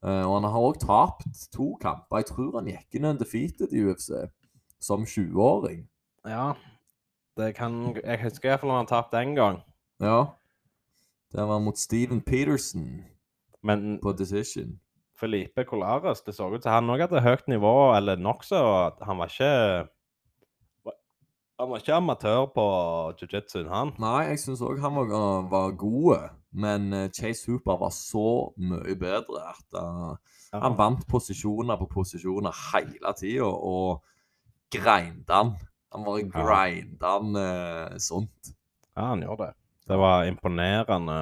S2: Eh, og han har òg tapt to kamper. Jeg tror han gikk inn undefeated i UFC som 20-åring.
S1: ja. Det kan, jeg husker iallfall han tapte én gang.
S2: Ja. Det var mot Steven Peterson
S1: Men
S2: på Decision.
S1: Felipe Colares, det så ut som han òg hadde høyt nivå, eller nokså. at Han var ikke Han var ikke amatør på jiu-jitsuen, han.
S2: Nei, jeg syns òg han var, eh, var god, men eh, Chase Hooper var så mye bedre at eh, Han vant posisjoner på posisjoner hele tida og grinda han. Han bare grinda han eh, sånt.
S1: Ja, han gjorde det. Det var imponerende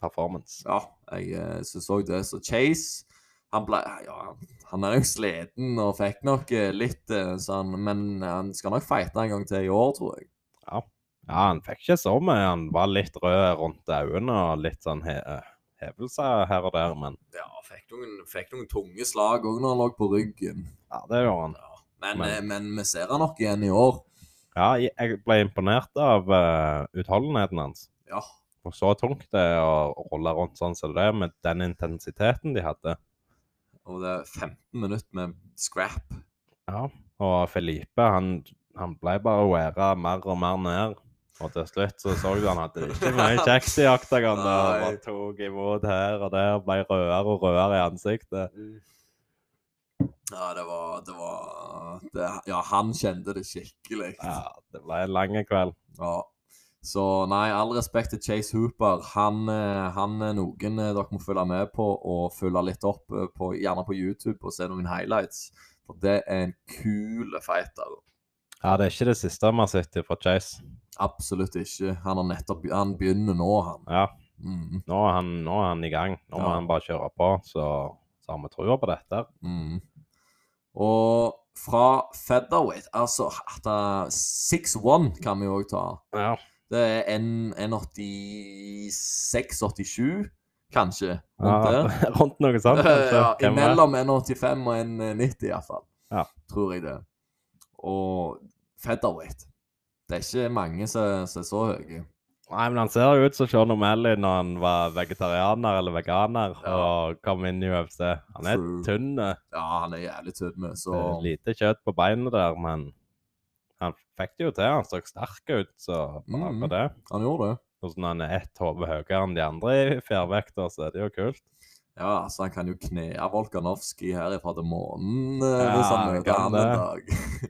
S1: performance.
S2: Ja, jeg eh, syns òg det. Så Chase han, ble, ja, han er jo sliten og fikk nok eh, litt, eh, så han- men han skal nok fighte en gang til i år, tror jeg.
S1: Ja, han fikk ikke så mye. Han var litt rød rundt øynene og litt sånn he hevelser her og der, men
S2: Ja, fikk noen, fikk noen tunge slag òg når han lå på ryggen.
S1: ja, det gjorde han.
S2: Men,
S1: Men-
S2: eh, men vi ser han nok igjen i år.
S1: Ja, jeg- jeg ble imponert av eh, utholdenheten hans.
S2: Ja,
S1: Og så tungt det er å rulle rundt sånn som det er, med den intensiteten de hadde.
S2: og det er 15 minutter med scrap.
S1: Ja. Og Felipe, han, han ble bare væra mer og mer ned. Og til slutt så så du han hadde det ikke mye kjekt i oktagon. da. Han
S2: Nei.
S1: bare tok imot her og der, ble rødere og rødere i ansiktet.
S2: Ja, det var, det var det, Ja, han kjente det skikkelig.
S1: Ja, det ble en lang kveld.
S2: Ja. Så nei, all respekt til Chase Hooper. Han, eh, han er noen eh, dere må følge med på og følge litt opp, eh, på, gjerne på YouTube, og se noen highlights. For det er en kul fighter.
S1: Ja, det er ikke det siste vi har sett fra Chase.
S2: Absolutt ikke. Han, har nettopp, han begynner nå, han.
S1: Ja,
S2: Mm,
S1: nå er han, nå er han i gang. Nå må
S2: Ja.
S1: han bare kjøre på, så, så har vi trua på dette.
S2: mm. Og fra featherweight Altså, at det- 6-1 kan vi òg ta.
S1: Ja.
S2: Det er en- 1,86-87, kanskje. Rundt
S1: Ja,
S2: der.
S1: rundt noe sånt. kanskje.
S2: ja,
S1: Hvem vet?
S2: imellom 1,85 og eh, 1,90 iallfall.
S1: Ja.
S2: Tror jeg det. Og featherweight. Det er ikke mange som som er så høye.
S1: Nei, men han ser jo ut som Sean O'Malley når han var vegetarianer eller veganer
S2: Ja.
S1: og kom inn i UFC. Han er
S2: True.
S1: tynn, eh,
S2: Ja, han er jævlig tynn, så
S1: lite kjøtt på beinet der, men han fikk det jo til. Han så sterk ut, så bare
S2: Mhm.
S1: det.
S2: han gjorde det.
S1: Og så når han er ett hode høyere enn de andre i fjærvekter, så er det jo kult.
S2: Ja, altså Han kan jo kne Volkanovskij herifra til månen eh,
S1: Ja,
S2: hvis han
S1: han
S2: møter
S1: kan
S2: han
S1: det.
S2: en dag.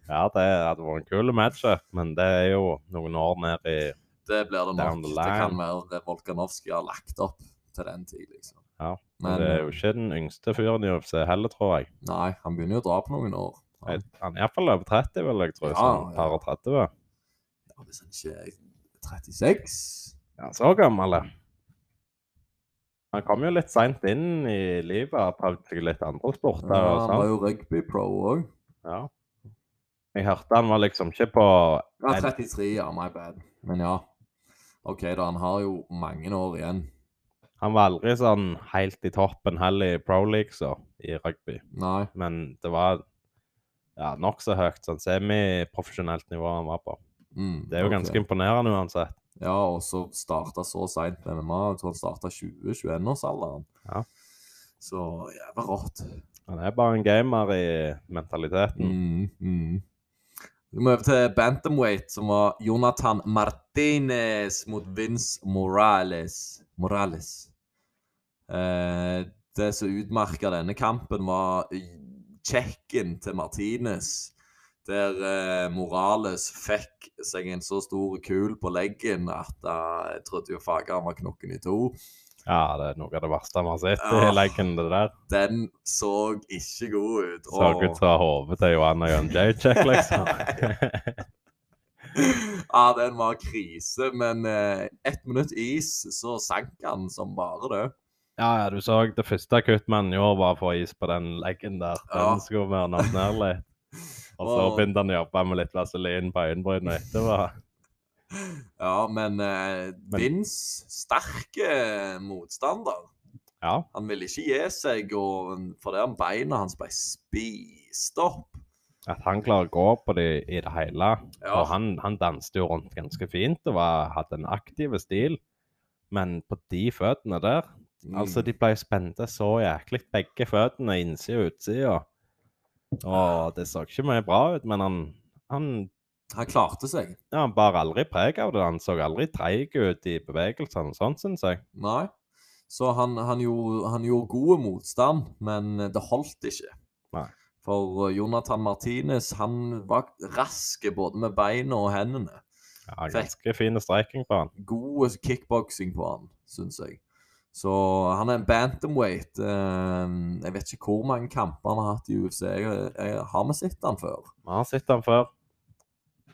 S1: Ja, det hadde vært en kul matchup, men det er jo noen år ned i
S2: Det blir det
S1: Down
S2: nok.
S1: the
S2: Det kan
S1: line.
S2: være Volkanovskij har lagt opp til den tid, liksom.
S1: Ja,
S2: Men, eh,
S1: Det er jo ikke den yngste fyren i UFC heller, tror jeg.
S2: Nei, han begynner jo å dra på noen år. Ja,
S1: Jeg- Han er iallfall over 30, vil jeg tro.
S2: Ja,
S1: sånn
S2: ja.
S1: par og 30.
S2: ja, hvis han ikke er 36
S1: Ja, så gammel er Han kom jo litt seint inn i livet og prøvde seg litt andre sporter.
S2: Ja,
S1: og
S2: han
S1: sånn.
S2: var jo rugby-pro òg.
S1: Ja. Jeg hørte han var liksom ikke på
S2: Ja,
S1: Nei.
S2: 33, ja. My bad. Men ja. OK, da. Han har jo mange år igjen.
S1: Han var aldri sånn helt i toppen heller i pro leagues og i rugby.
S2: Nei.
S1: Men det var ja, nokså høyt sånn semiprofesjonelt nivå han var på.
S2: Mm,
S1: Det er jo
S2: ok.
S1: ganske imponerende uansett.
S2: Ja, og så starta så seint med MMA. Jeg tror han starta 20-21-årsalderen.
S1: Ja.
S2: Så jævla rått.
S1: Han er bare en gamer i mentaliteten.
S2: Mm, mm. Vi må over til Bantamweight, som var Jonathan Martinez mot Vince Morales. Morales. Eh, det som utmerka denne kampen, var checken til Martinez. Der eh, Morales fikk seg en så stor kul på leggen at eh, jeg trodde jo faget han var knokken i to.
S1: Ja, det er noe av det verste vi har sett i
S2: Ah.
S1: leggen, det der.
S2: Den så ikke god ut.
S1: Så
S2: og-
S1: ut som hodet til Johanna Jøn Jacek, liksom.
S2: Ja, den var krise, men eh, ett minutt is, så sank han som bare det.
S1: ja, ja, du så det første kutt man gjorde, var å få is på den leggen der.
S2: Ja.
S1: Den skulle vi ha natt ned litt. Og så
S2: Og-
S1: begynte han å jobbe med litt vaselin på øyenbrynene etterpå.
S2: Ja, men eh, Vince sterke motstander.
S1: Ja,
S2: Han ville ikke gi seg, og for det om beina hans ble spist opp.
S1: at han klarer å gå på de i det hele.
S2: Ja.
S1: Og han, han danste jo rundt ganske fint og var, hadde en aktiv stil. Men på de føttene der
S2: Mm.
S1: Altså, de ble spente så jæklig, begge føttene, innsida og utsida. Og det så ikke mye bra ut, men han, han,
S2: Han klarte seg.
S1: ja, han bar aldri preg av det. Han så aldri treig ut i bevegelsene og sånn, syns jeg.
S2: Nei. Så han, han, gjorde, han gjorde god motstand, men det holdt ikke.
S1: Nei.
S2: For eh, Jonathan Martinez han var rask både med beina og hendene.
S1: Ja, ganske fin streiking på han.
S2: god kickboksing på han, syns jeg. Så han er en bantamweight. eh, Jeg vet ikke hvor mange kamper han har hatt i UFC. Jeg, jeg har vi sett han før?
S1: Vi har sett han før.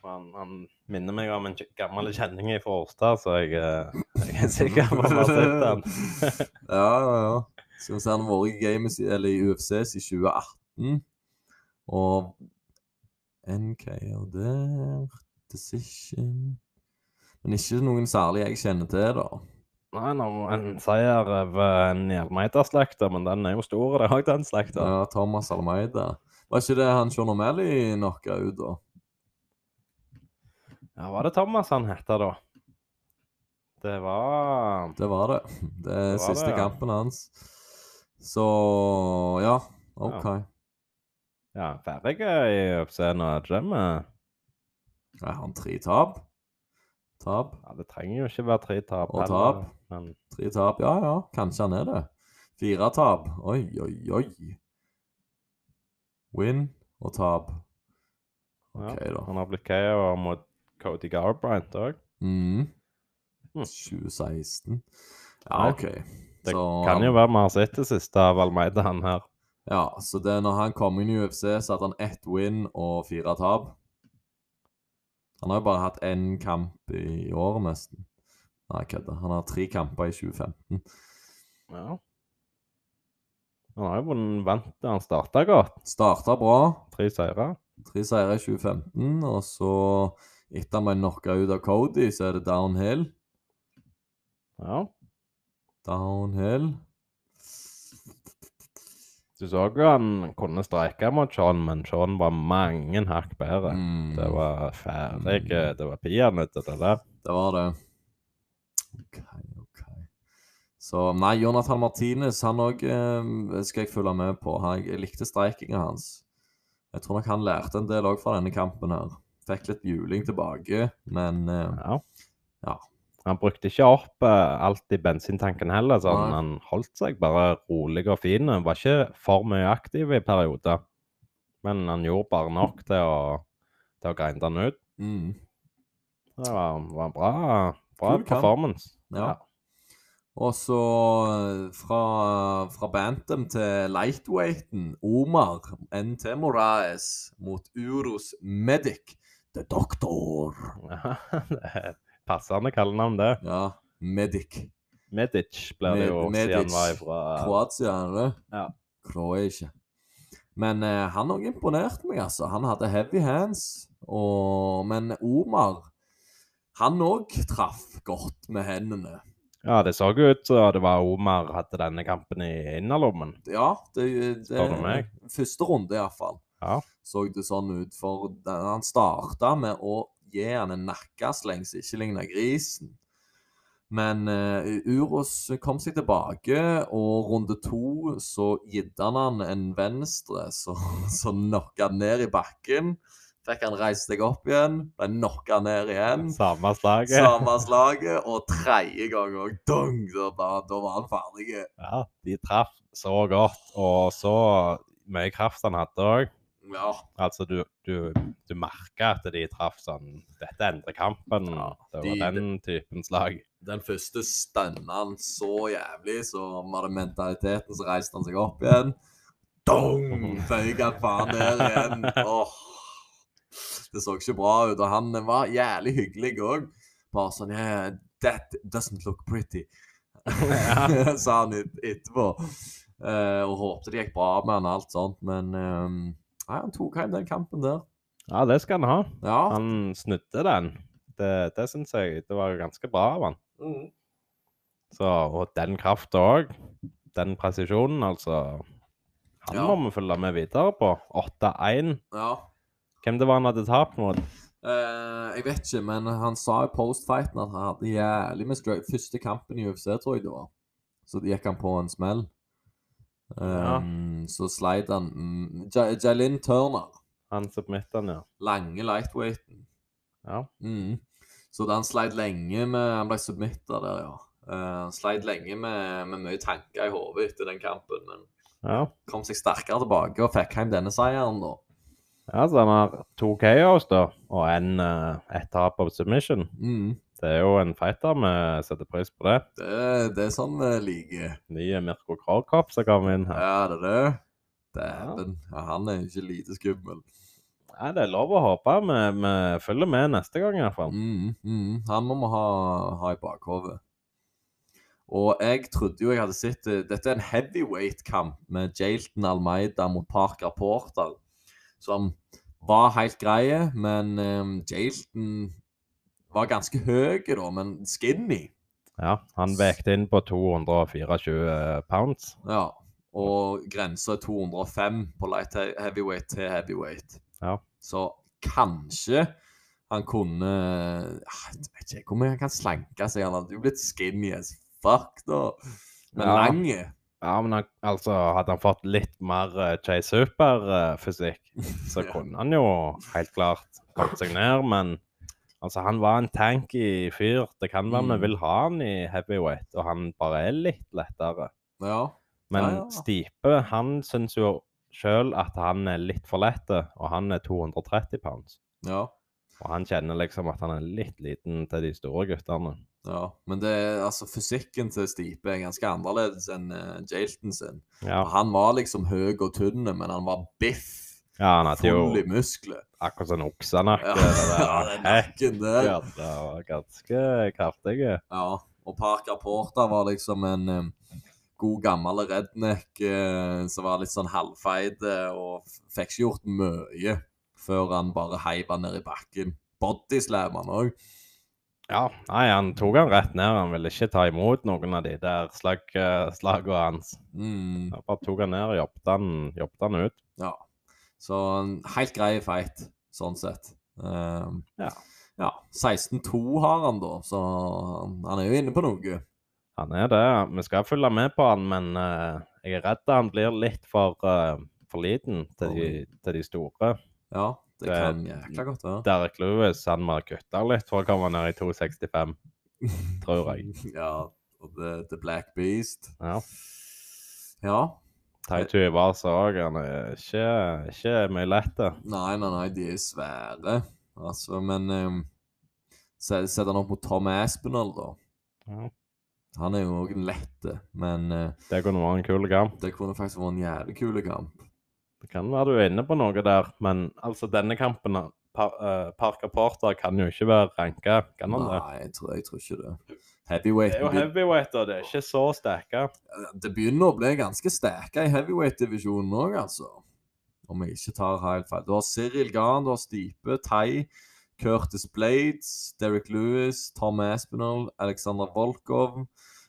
S1: Og Han, han minner meg om en kj- gammel kjenning fra Årstad, så jeg, eh, jeg er sikker på at vi har sett han.
S2: ja, ja, ja. Skal vi se, han har vært i games, i- eller i UFC siden 2018. Og NKO der Decision Men ikke noen særlig jeg kjenner til, da.
S1: Nei, nå, en seier over en Hjelmeiter-slekta, men den er jo stor, det er òg den slekta.
S2: Ja, Thomas Almeida. Var ikke det han Sean O'Malley knocka ut, da?
S1: Ja, var det Thomas han hette da? Det var
S2: Det var det. Det er
S1: Det var
S2: siste
S1: det, ja.
S2: kampen hans. Så ja, OK.
S1: Ja, ferdig i UFC nå, er det ikke det med
S2: Jeg har tre tap. Tap.
S1: Ja, det trenger jo ikke være tre tap.
S2: Og
S1: heller,
S2: tap.
S1: Men
S2: Tre tap. Ja, ja, kanskje han er det. Fire tap. Oi, oi, oi. Win og tap.
S1: ja,
S2: OK, da.
S1: han har blitt KO mot Cody Garbrandt òg.
S2: Mm.
S1: Hm.
S2: 2016.
S1: Nei,
S2: Ja, OK.
S1: Det
S2: Så
S1: kan jo
S2: han-
S1: være vi har sett det siste av Almeida, han her.
S2: Ja, så det, når han kom inn i UFC, så hadde han ett win og fire tap. Han har jo bare hatt én kamp i året, nesten. Nei, jeg kødder. Han har tre kamper i 2015.
S1: Ja. Han har jo vunnet- vant det. Han starta godt.
S2: Starta bra.
S1: Tre seire.
S2: Tre seire i 2015, og så, etter han ble knocka ut av Cody, så er det downhill.
S1: Ja.
S2: Downhill.
S1: Du så jo han kunne streike mot Sean, men Sean var mange hakk bedre.
S2: Mm,
S1: Det var ferdig. Det var peanøtter, det der.
S2: det var det. OK, OK. Så nei, Jonathan Martinez han òg eh, skal jeg følge med på. Han, jeg likte streikinga hans. Jeg tror nok han lærte en del òg fra denne kampen her. Fikk litt juling tilbake, men eh,
S1: Ja.
S2: Ja.
S1: Han brukte ikke opp eh, alt i bensintanken heller. Sånn.
S2: Nei.
S1: Han holdt seg bare rolig og fin. Han var ikke for mye aktiv i perioder. Men han gjorde bare nok til å, til å grinde han ut.
S2: mm,
S1: Det var, var en bra, bra
S2: Kul kamp.
S1: performance.
S2: ja.
S1: Ja.
S2: Og så eh, fra, fra Bantam til lightweighten, Omar NT Moraes mot Uros Medic, The Doctor.
S1: Ja, det er et Passende kallenavn, det.
S2: Ja, Medic.
S1: Medic blir det
S2: Med-
S1: jo
S2: Medic.
S1: siden han var ifra
S2: Kroatia, er det det?
S1: Ja.
S2: Kroatia. Men eh, han òg imponerte meg, altså. Han hadde heavy hands. Og, men Omar Han òg traff godt med hendene.
S1: Ja, det så jo ut som det var Omar hadde denne kampen i innerlommen.
S2: Ja, det, det
S1: Spør du meg?
S2: Første runde, iallfall,
S1: Ja.
S2: så det sånn ut. For den- han starta med å gi han en nakkesleng som ikke ligna grisen. Men eh, Uros kom seg tilbake, og runde to så gidde han han en venstre, så, så knocka han ned i bakken. Fikk han reist seg opp igjen, ble knocka ned igjen.
S1: Samme slaget.
S2: Samme slaget, og tredje gang òg. Dong! Da, da da var han ferdig.
S1: Ja, de traff så godt, og så mye kraft han hadde òg.
S2: Ja.
S1: Altså, du, du, du merka at de traff sånn Dette endrer kampen.
S2: Ja,
S1: det
S2: de-
S1: var den typen slag.
S2: Den første stønna han så jævlig, så var det mentaliteten, så reiste han seg opp igjen. Dong! Bøyg han faen ned igjen. Åh. Det så ikke bra ut, og han var jævlig hyggelig òg. Bare sånn yeah, That doesn't look pretty, sa han et, etterpå. Eh, og håpte det gikk bra med han og alt sånt, men eh, nei, han tok hjem den kampen der.
S1: Ja, det skal han ha.
S2: Ja.
S1: Han snudde den. Det, det syns jeg det var ganske bra av han.
S2: Mm.
S1: Så, og den krafta òg. Den presisjonen, altså. Han
S2: Ja.
S1: må vi følge med videre på. 8-1.
S2: ja.
S1: Hvem det var han hadde tapt mot?
S2: Eh, jeg vet ikke, men han sa i post-fighten at han hadde jævlig med strike. Første kampen i UFC, tror jeg det var. Så gikk han på en smell. Ehm, Så sleit han mm, Ja- Jalin Turner,
S1: Han submitta han, ja.
S2: lange lightweighten.
S1: ja.
S2: Mm. Så da han sleit lenge med Han ble submitta der, ja. Eh, han sleit lenge med, med mye tanker i hodet etter den kampen, men
S1: Ja.
S2: kom seg sterkere tilbake og fikk hjem denne seieren, da.
S1: Ja, så han har to KOs, da, og en, eh, ett tap av submission.
S2: Mm.
S1: Det er jo en fighter vi setter pris på det.
S2: Det, det er sånn vi liker.
S1: Nye Mirko Krokop som kommer inn her.
S2: Ja, det er det. Dæven. Ja. Han er ikke lite skummel.
S1: Nei, det er lov å håpe. Vi, vi følger med neste gang, i hvert fall.
S2: Mm, mm. Han må vi ha, ha i bakhodet. Og jeg trodde jo jeg hadde sett eh, Dette er en heavyweight-kamp med Jalton Almeida mot Parker Porter, som var helt greie, men um, Jalton var ganske høy, da, men skinny.
S1: Ja, Han vekte inn på 224 pounds.
S2: Ja. Og grensa er 205 på light he- heavyweight til heavyweight.
S1: Ja.
S2: Så kanskje han kunne Ah, Jeg vet ikke hvor mye han kan slanke seg. Han hadde jo blitt skinny as fuck, da. Men
S1: Ja.
S2: lang.
S1: Ja, men han, altså, hadde han fått litt mer eh, Jay Super-fysikk, så
S2: Ja.
S1: kunne han jo helt klart kommet seg ned. Men altså, han var en tanky fyr. Det kan være
S2: Mm.
S1: vi vil ha han i heavyweight, og han bare er litt lettere.
S2: Ja.
S1: Men
S2: Ja, ja.
S1: Stipe han syns jo sjøl at han er litt for lett, og han er 230 pounds.
S2: ja.
S1: Og han kjenner liksom at han er litt liten til de store guttene.
S2: Ja, men det, er- altså, fysikken til Stipe er ganske annerledes enn uh, Jalton sin.
S1: Ja,
S2: Han var liksom høy og tynn, men han var biff.
S1: ja han hadde jo
S2: Full i muskler.
S1: akkurat sånn
S2: Ja,
S1: oksenakke.
S2: den nakken der.
S1: Ja, det var ganske kraftig.
S2: Ja, og Parker Porter var liksom en eh, god gammel redneck eh, som var litt sånn halvfeit eh, og f- fikk ikke gjort mye før han bare heiv han ned i bakken. Bodyslam han òg.
S1: Ja, nei, han tok han rett ned. Han ville ikke ta imot noen av de der slag, eh, slagene hans.
S2: Mm,
S1: Han bare tok han ned og jobbet han, jobbet han ut.
S2: ja. Så en helt grei fight, sånn sett. Um,
S1: Ja.
S2: ja. 16-2 har han, da, så han han er jo inne på noe.
S1: Han er det. Vi skal følge med på han, men eh, jeg er redd han blir litt for, eh, for liten til de, til de store.
S2: Ja, det,
S1: Det-
S2: kan jækla godt være.
S1: Derek Lewis han må kutte litt for å komme ned i 2,65, tror jeg.
S2: ja, og The, the Black Beast.
S1: Ja.
S2: Ja.
S1: Taitu Iwasa òg. Han er ikke, ikke mye lett.
S2: Nei, nei, nei, de er svære. Altså, men um, Sett han opp mot Tom Aspinall, da.
S1: Ja.
S2: Han er jo òg en lette, men eh,
S1: Det kunne vært en kul kamp.
S2: det kunne faktisk vært en jævlig kul kamp.
S1: Det kan være du er inne på noe der, men altså denne kampen par, eh, Parker Porter kan jo ikke være ranka, kan han det?
S2: Nei, jeg tror, jeg tror ikke det.
S1: Det
S2: Heavyweight
S1: er jo heavyweight, og det er ikke så sterke.
S2: det begynner å bli ganske sterke i heavyweight-divisjonen òg, altså. Om jeg ikke tar helt feil. Du har Cyril Garn, du har Stipe, Tai, Curtis Blades, Derek Lewis, Tom Aspinall, Alexander Volkov,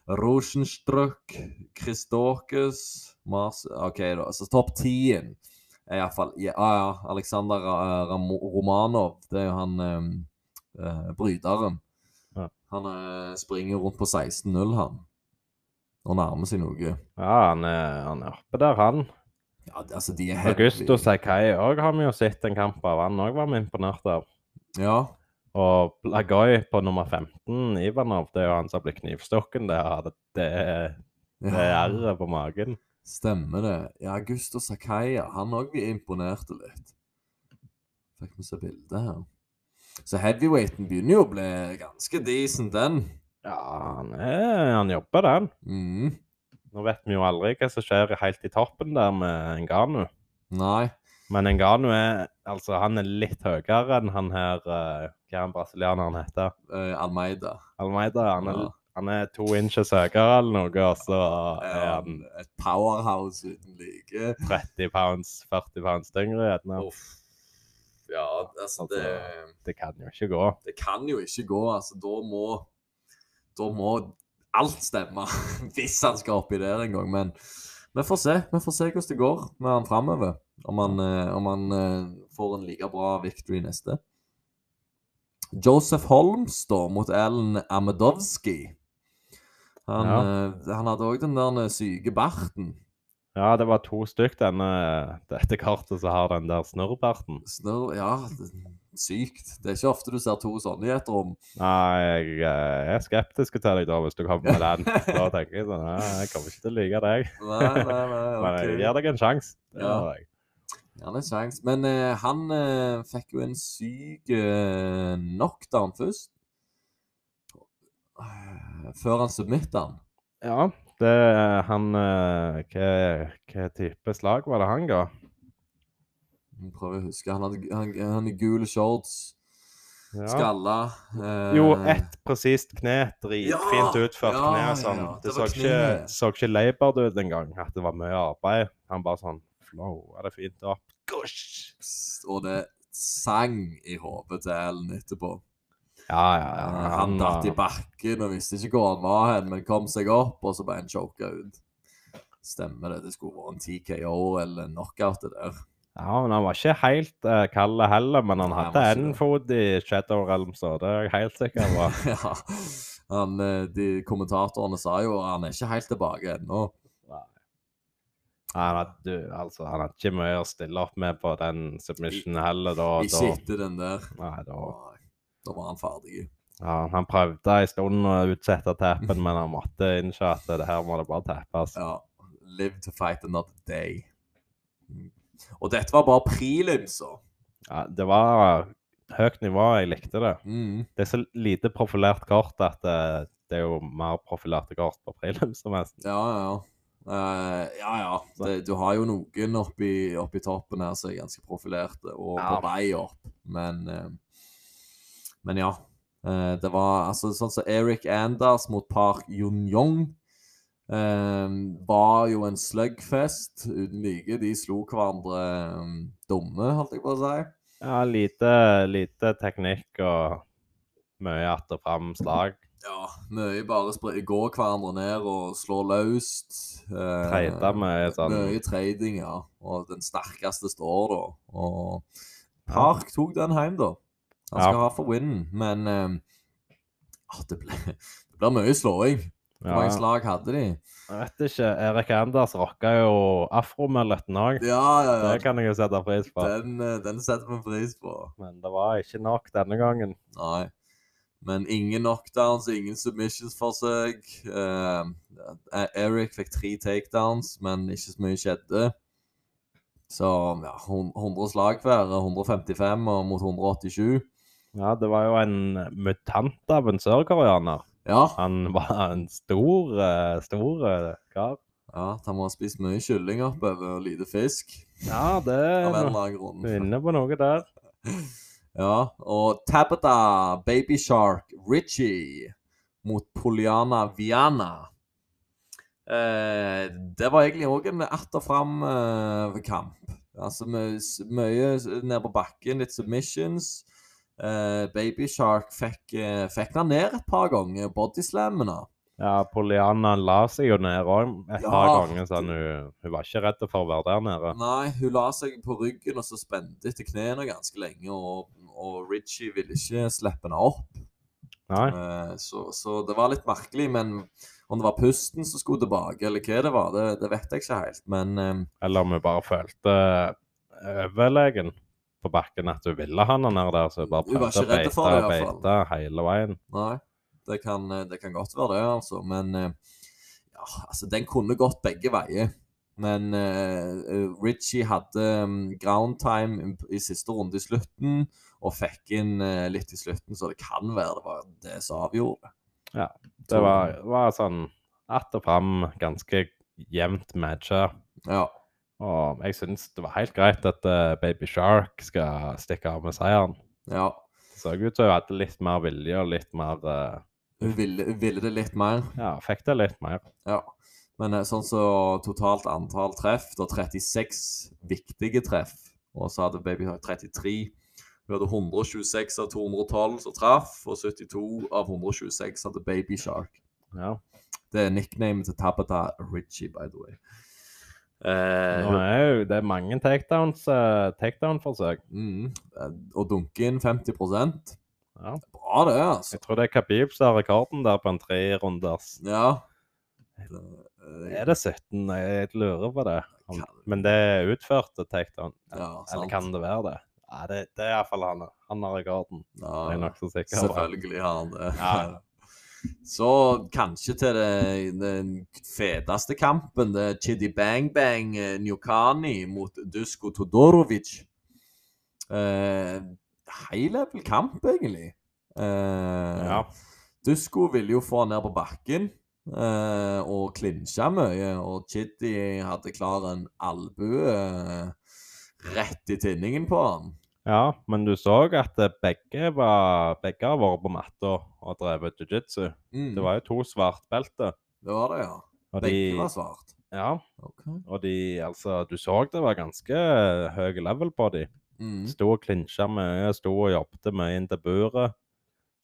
S2: Rosenstruck, Christokes Mars OK, da. Så topp tien er iallfall Ja, ja. Alexander eh, Ram Romanov. Det er jo han eh, eh, bryteren.
S1: Ja.
S2: Han eh, springer rundt på 16-0, han. Og nærmer seg noe.
S1: Ja, han er, han er oppe der, han.
S2: Ja, det- altså, de er heavy.
S1: Augusto Sakai òg har vi jo sett en kamp av. Han òg var vi imponert av.
S2: Ja,
S1: Og Blagoj på nummer 15, Ivanov, det er jo han som ble knivstukken der. og Det, det, det er
S2: ja.
S1: arret på magen.
S2: Stemmer det. Ja, Augusto Sakaya, han òg vi imponerte litt. Fikk vi se bildet her. Så heavyweighten begynner jo å bli ganske decent, den.
S1: Ja, han, er, han jobber, den.
S2: Mm.
S1: Nå vet vi jo aldri hva som skjer helt i toppen der med Engano.
S2: Nei.
S1: Men Engano er altså, han er litt høyere enn han her eh, Hva er han brasilianeren heter?
S2: eh, Almeida.
S1: Almeida. Han er,
S2: Ja.
S1: han er to inches høyere eller noe, og så er
S2: Eh,
S1: han
S2: Et powerhouse uten like.
S1: 30 pounds, 40 pounds tyngre. gjerne.
S2: Uff. Ja, altså det,
S1: Det kan jo ikke gå.
S2: det kan jo ikke gå. Altså, da må Da må alt stemme hvis han skal oppi der en gang. Men vi får se Vi får se hvordan det går med han framover. Om han, eh, om han eh, får en like bra victory neste. Joseph Holmes da, mot Alan Amedovsky. Han, eh, han hadde òg den der eh, syke barten.
S1: Ja, det var to stykk denne, dette kartet som har den der snurrbarten.
S2: Snørr Ja, det, sykt. Det er ikke ofte du ser to sånne i et rom.
S1: Nei, jeg, eh, er skeptisk til deg da, hvis du kommer med den. Da tenker jeg sånn, nei, jeg kommer ikke til å like deg.
S2: Nei, nei, nei.
S1: Men jeg
S2: ok.
S1: gir deg en sjanse. Det
S2: Ja.
S1: gjør jeg.
S2: Ja, det er sjans. Men eh, han eh, fikk jo en syk eh, knockdown først. Eh, Før han submitta han.
S1: Ja, det, han, eh, hva, hva type slag var det han ga?
S2: Jeg prøver å huske. Han, hadde, han, han i gule shorts,
S1: Ja.
S2: skalla eh,
S1: Jo, ett presist kne, dritfint
S2: Ja!
S1: utført
S2: Ja,
S1: kne.
S2: ja,
S1: Sånn.
S2: ja,
S1: Det
S2: det
S1: så
S2: var
S1: ikke,
S2: kneet.
S1: så ikke labert ut engang, at det var mye arbeid. Han bare sånn, flow, er det fint opp? Gosh!
S2: Og det sang i hodet til Ellen etterpå.
S1: Ja, ja, eh, ja.
S2: han han datt i bakken og visste ikke hvor han var hen, men kom seg opp, og så ble han choka ut. Stemmer det. Det skulle vært en TKO eller en knockout, det der.
S1: Ja, men han var ikke helt uh, kald heller, men han
S2: Nei, han
S1: hadde
S2: var ikke
S1: en
S2: det.
S1: fot i Shadow Realm, så det er jeg helt sikker på.
S2: ja. Han, eh, de kommentatorene sa jo han er ikke helt tilbake ennå.
S1: Nei, han hadde, du, altså, han hadde ikke mye å stille opp med på den submissionen heller. Da,
S2: Ikke
S1: da,
S2: etter den der.
S1: nei, da.
S2: Nei, Da var han ferdig.
S1: Ja, han prøvde en stund å utsette tappen, men han måtte innse at det her må det bare tappes.
S2: Ja. Live to fight another day. Mm. Og dette var bare prelims, så.
S1: Ja, det var høyt nivå, jeg likte det.
S2: Mm.
S1: Det er så lite profilert kort at eh, det er jo mer profilerte kort på prelims som helst.
S2: Ja, ja, ja. Eh, ja, ja. Det, du har jo noen oppi, oppi toppen her som er ganske profilerte og
S1: Ja.
S2: på vei opp, men eh, Men ja. Eh, det var altså sånn som Eric Anders mot Park Yun-Yong eh, var jo en slugfest uten like. De slo hverandre eh, dumme, holdt jeg på å si.
S1: Ja, lite, lite teknikk og mye att og fram slag.
S2: Ja, mye bare spre- gå hverandre ned og slå løst. eh,
S1: Treide med sånn
S2: Mye trading, ja. Og den sterkeste står, da. Og Park tok den hjem, da. Han
S1: Ja.
S2: skal ha for winnen, men eh, ah, det ble det blir mye slåing. Hvor
S1: ja,
S2: mange slag hadde de?
S1: Jeg vet ikke. Erik Anders rocka jo afromølletten òg.
S2: Ja, ja, ja.
S1: Det kan jeg jo sette pris på.
S2: Den, eh, den setter vi pris på.
S1: Men det var ikke nok denne gangen.
S2: Nei. Men ingen knockdowns, ingen submissions-forsøk. Eh, Eric fikk tre takedowns, men ikke så mye skjedde. Så ja, hun- 100 slag hver. 155 og mot 187.
S1: Ja, det var jo en mutant av en sørkoreaner.
S2: Ja,
S1: Han var en stor, eh, stor eh, kar.
S2: ja at han må ha spist mye kylling oppover og lite fisk.
S1: Ja, det
S2: Av en
S1: er
S2: eller annen
S1: du er
S2: grunn.
S1: inne på noe der.
S2: Ja, og Tabata, Baby Shark, Richie mot Poliana Viana. Eh, det var egentlig òg en att og fram-kamp. altså med s- mye s- ned på bakken, litt submissions. Eh, Baby Shark fikk, eh, fikk han ned et par ganger, bodyslammene.
S1: Ja, Poliana la seg jo ned òg et
S2: Ja.
S1: par ganger, så hun, hun var ikke redd for å være der nede.
S2: Nei, hun la seg på ryggen og så spente etter knærne ganske lenge, og, og Ritchie ville ikke slippe henne opp.
S1: Nei.
S2: Eh, Så, så det var litt merkelig, men om det var pusten som skulle tilbake, eller hva det var, det, det vet jeg ikke helt. Men eh,
S1: Eller om hun bare følte eh, overlegen på bakken at hun ville ha henne ned der, så hun bare
S2: Hun var
S1: prøvde å
S2: ikke redd
S1: beite
S2: for
S1: og
S2: det, i hvert fall.
S1: beite hele veien.
S2: nei, det kan, eh, det kan godt være det, altså. Men eh, ja, altså, den kunne gått begge veier. Men eh, Ritchie hadde mm, ground time i- i siste runde i slutten, og fikk inn eh, litt i slutten, så det kan være det var det som avgjorde.
S1: Ja,
S2: Så-
S1: Det var, var sånn att og fram, ganske jevnt matcha.
S2: Ja.
S1: Og jeg syns det var helt greit at eh, Baby Shark skal stikke av med seieren.
S2: ja.
S1: Det så ut som hun hadde litt mer vilje og litt mer eh,
S2: Hun ville, hun ville det litt mer.
S1: Ja, fikk det litt mer.
S2: Ja. Men eh, sånn så totalt antall treff, da 36 viktige treff, og så hadde Baby Hawk 33. Hun hadde 126 av 212 som traff, og 72 av 126 hadde Baby Shark.
S1: Ja.
S2: Det er nicknamet til Tabata Ritchie, by the way. Eh,
S1: Nå er jo det er mange takedowns, eh, takedown-forsøk.
S2: mm, eh, og dunke inn 50
S1: Ja.
S2: Bra, det, altså.
S1: Jeg tror det er Khabib som har rekorden der på en trerunders.
S2: Ja. Eh,
S1: Er det 17? Jeg lurer på det. Om,
S2: Kan-
S1: men det er utført til takedown.
S2: Ja,
S1: Eller
S2: sant.
S1: kan det være det? Ja, det, det er iallfall han. Han har rekorden. Det er
S2: Ja,
S1: jeg nokså sikker på.
S2: Selvfølgelig har han det.
S1: Ja.
S2: Så kanskje til det, den feteste kampen, det er Chidi Bang Bang eh, Njokani mot Dusko Todorovic. Eh, high level kamp, egentlig. Eh,
S1: Ja.
S2: Dusko ville jo få han ned på bakken eh, og klinsja mye, og Chidi hadde klar en albue eh, rett i tinningen på han.
S1: ja, men du så at eh, begge, var, begge har vært på matta og drevet jiu-jitsu.
S2: Mm,
S1: Det var jo to svartbelter.
S2: det var det, ja.
S1: Og de,
S2: Begge var svart.
S1: ja,
S2: Okay.
S1: og de altså Du så det var ganske høy level på de.
S2: Mm.
S1: Sto og klinsja mye, sto og jobbet mye inn til buret.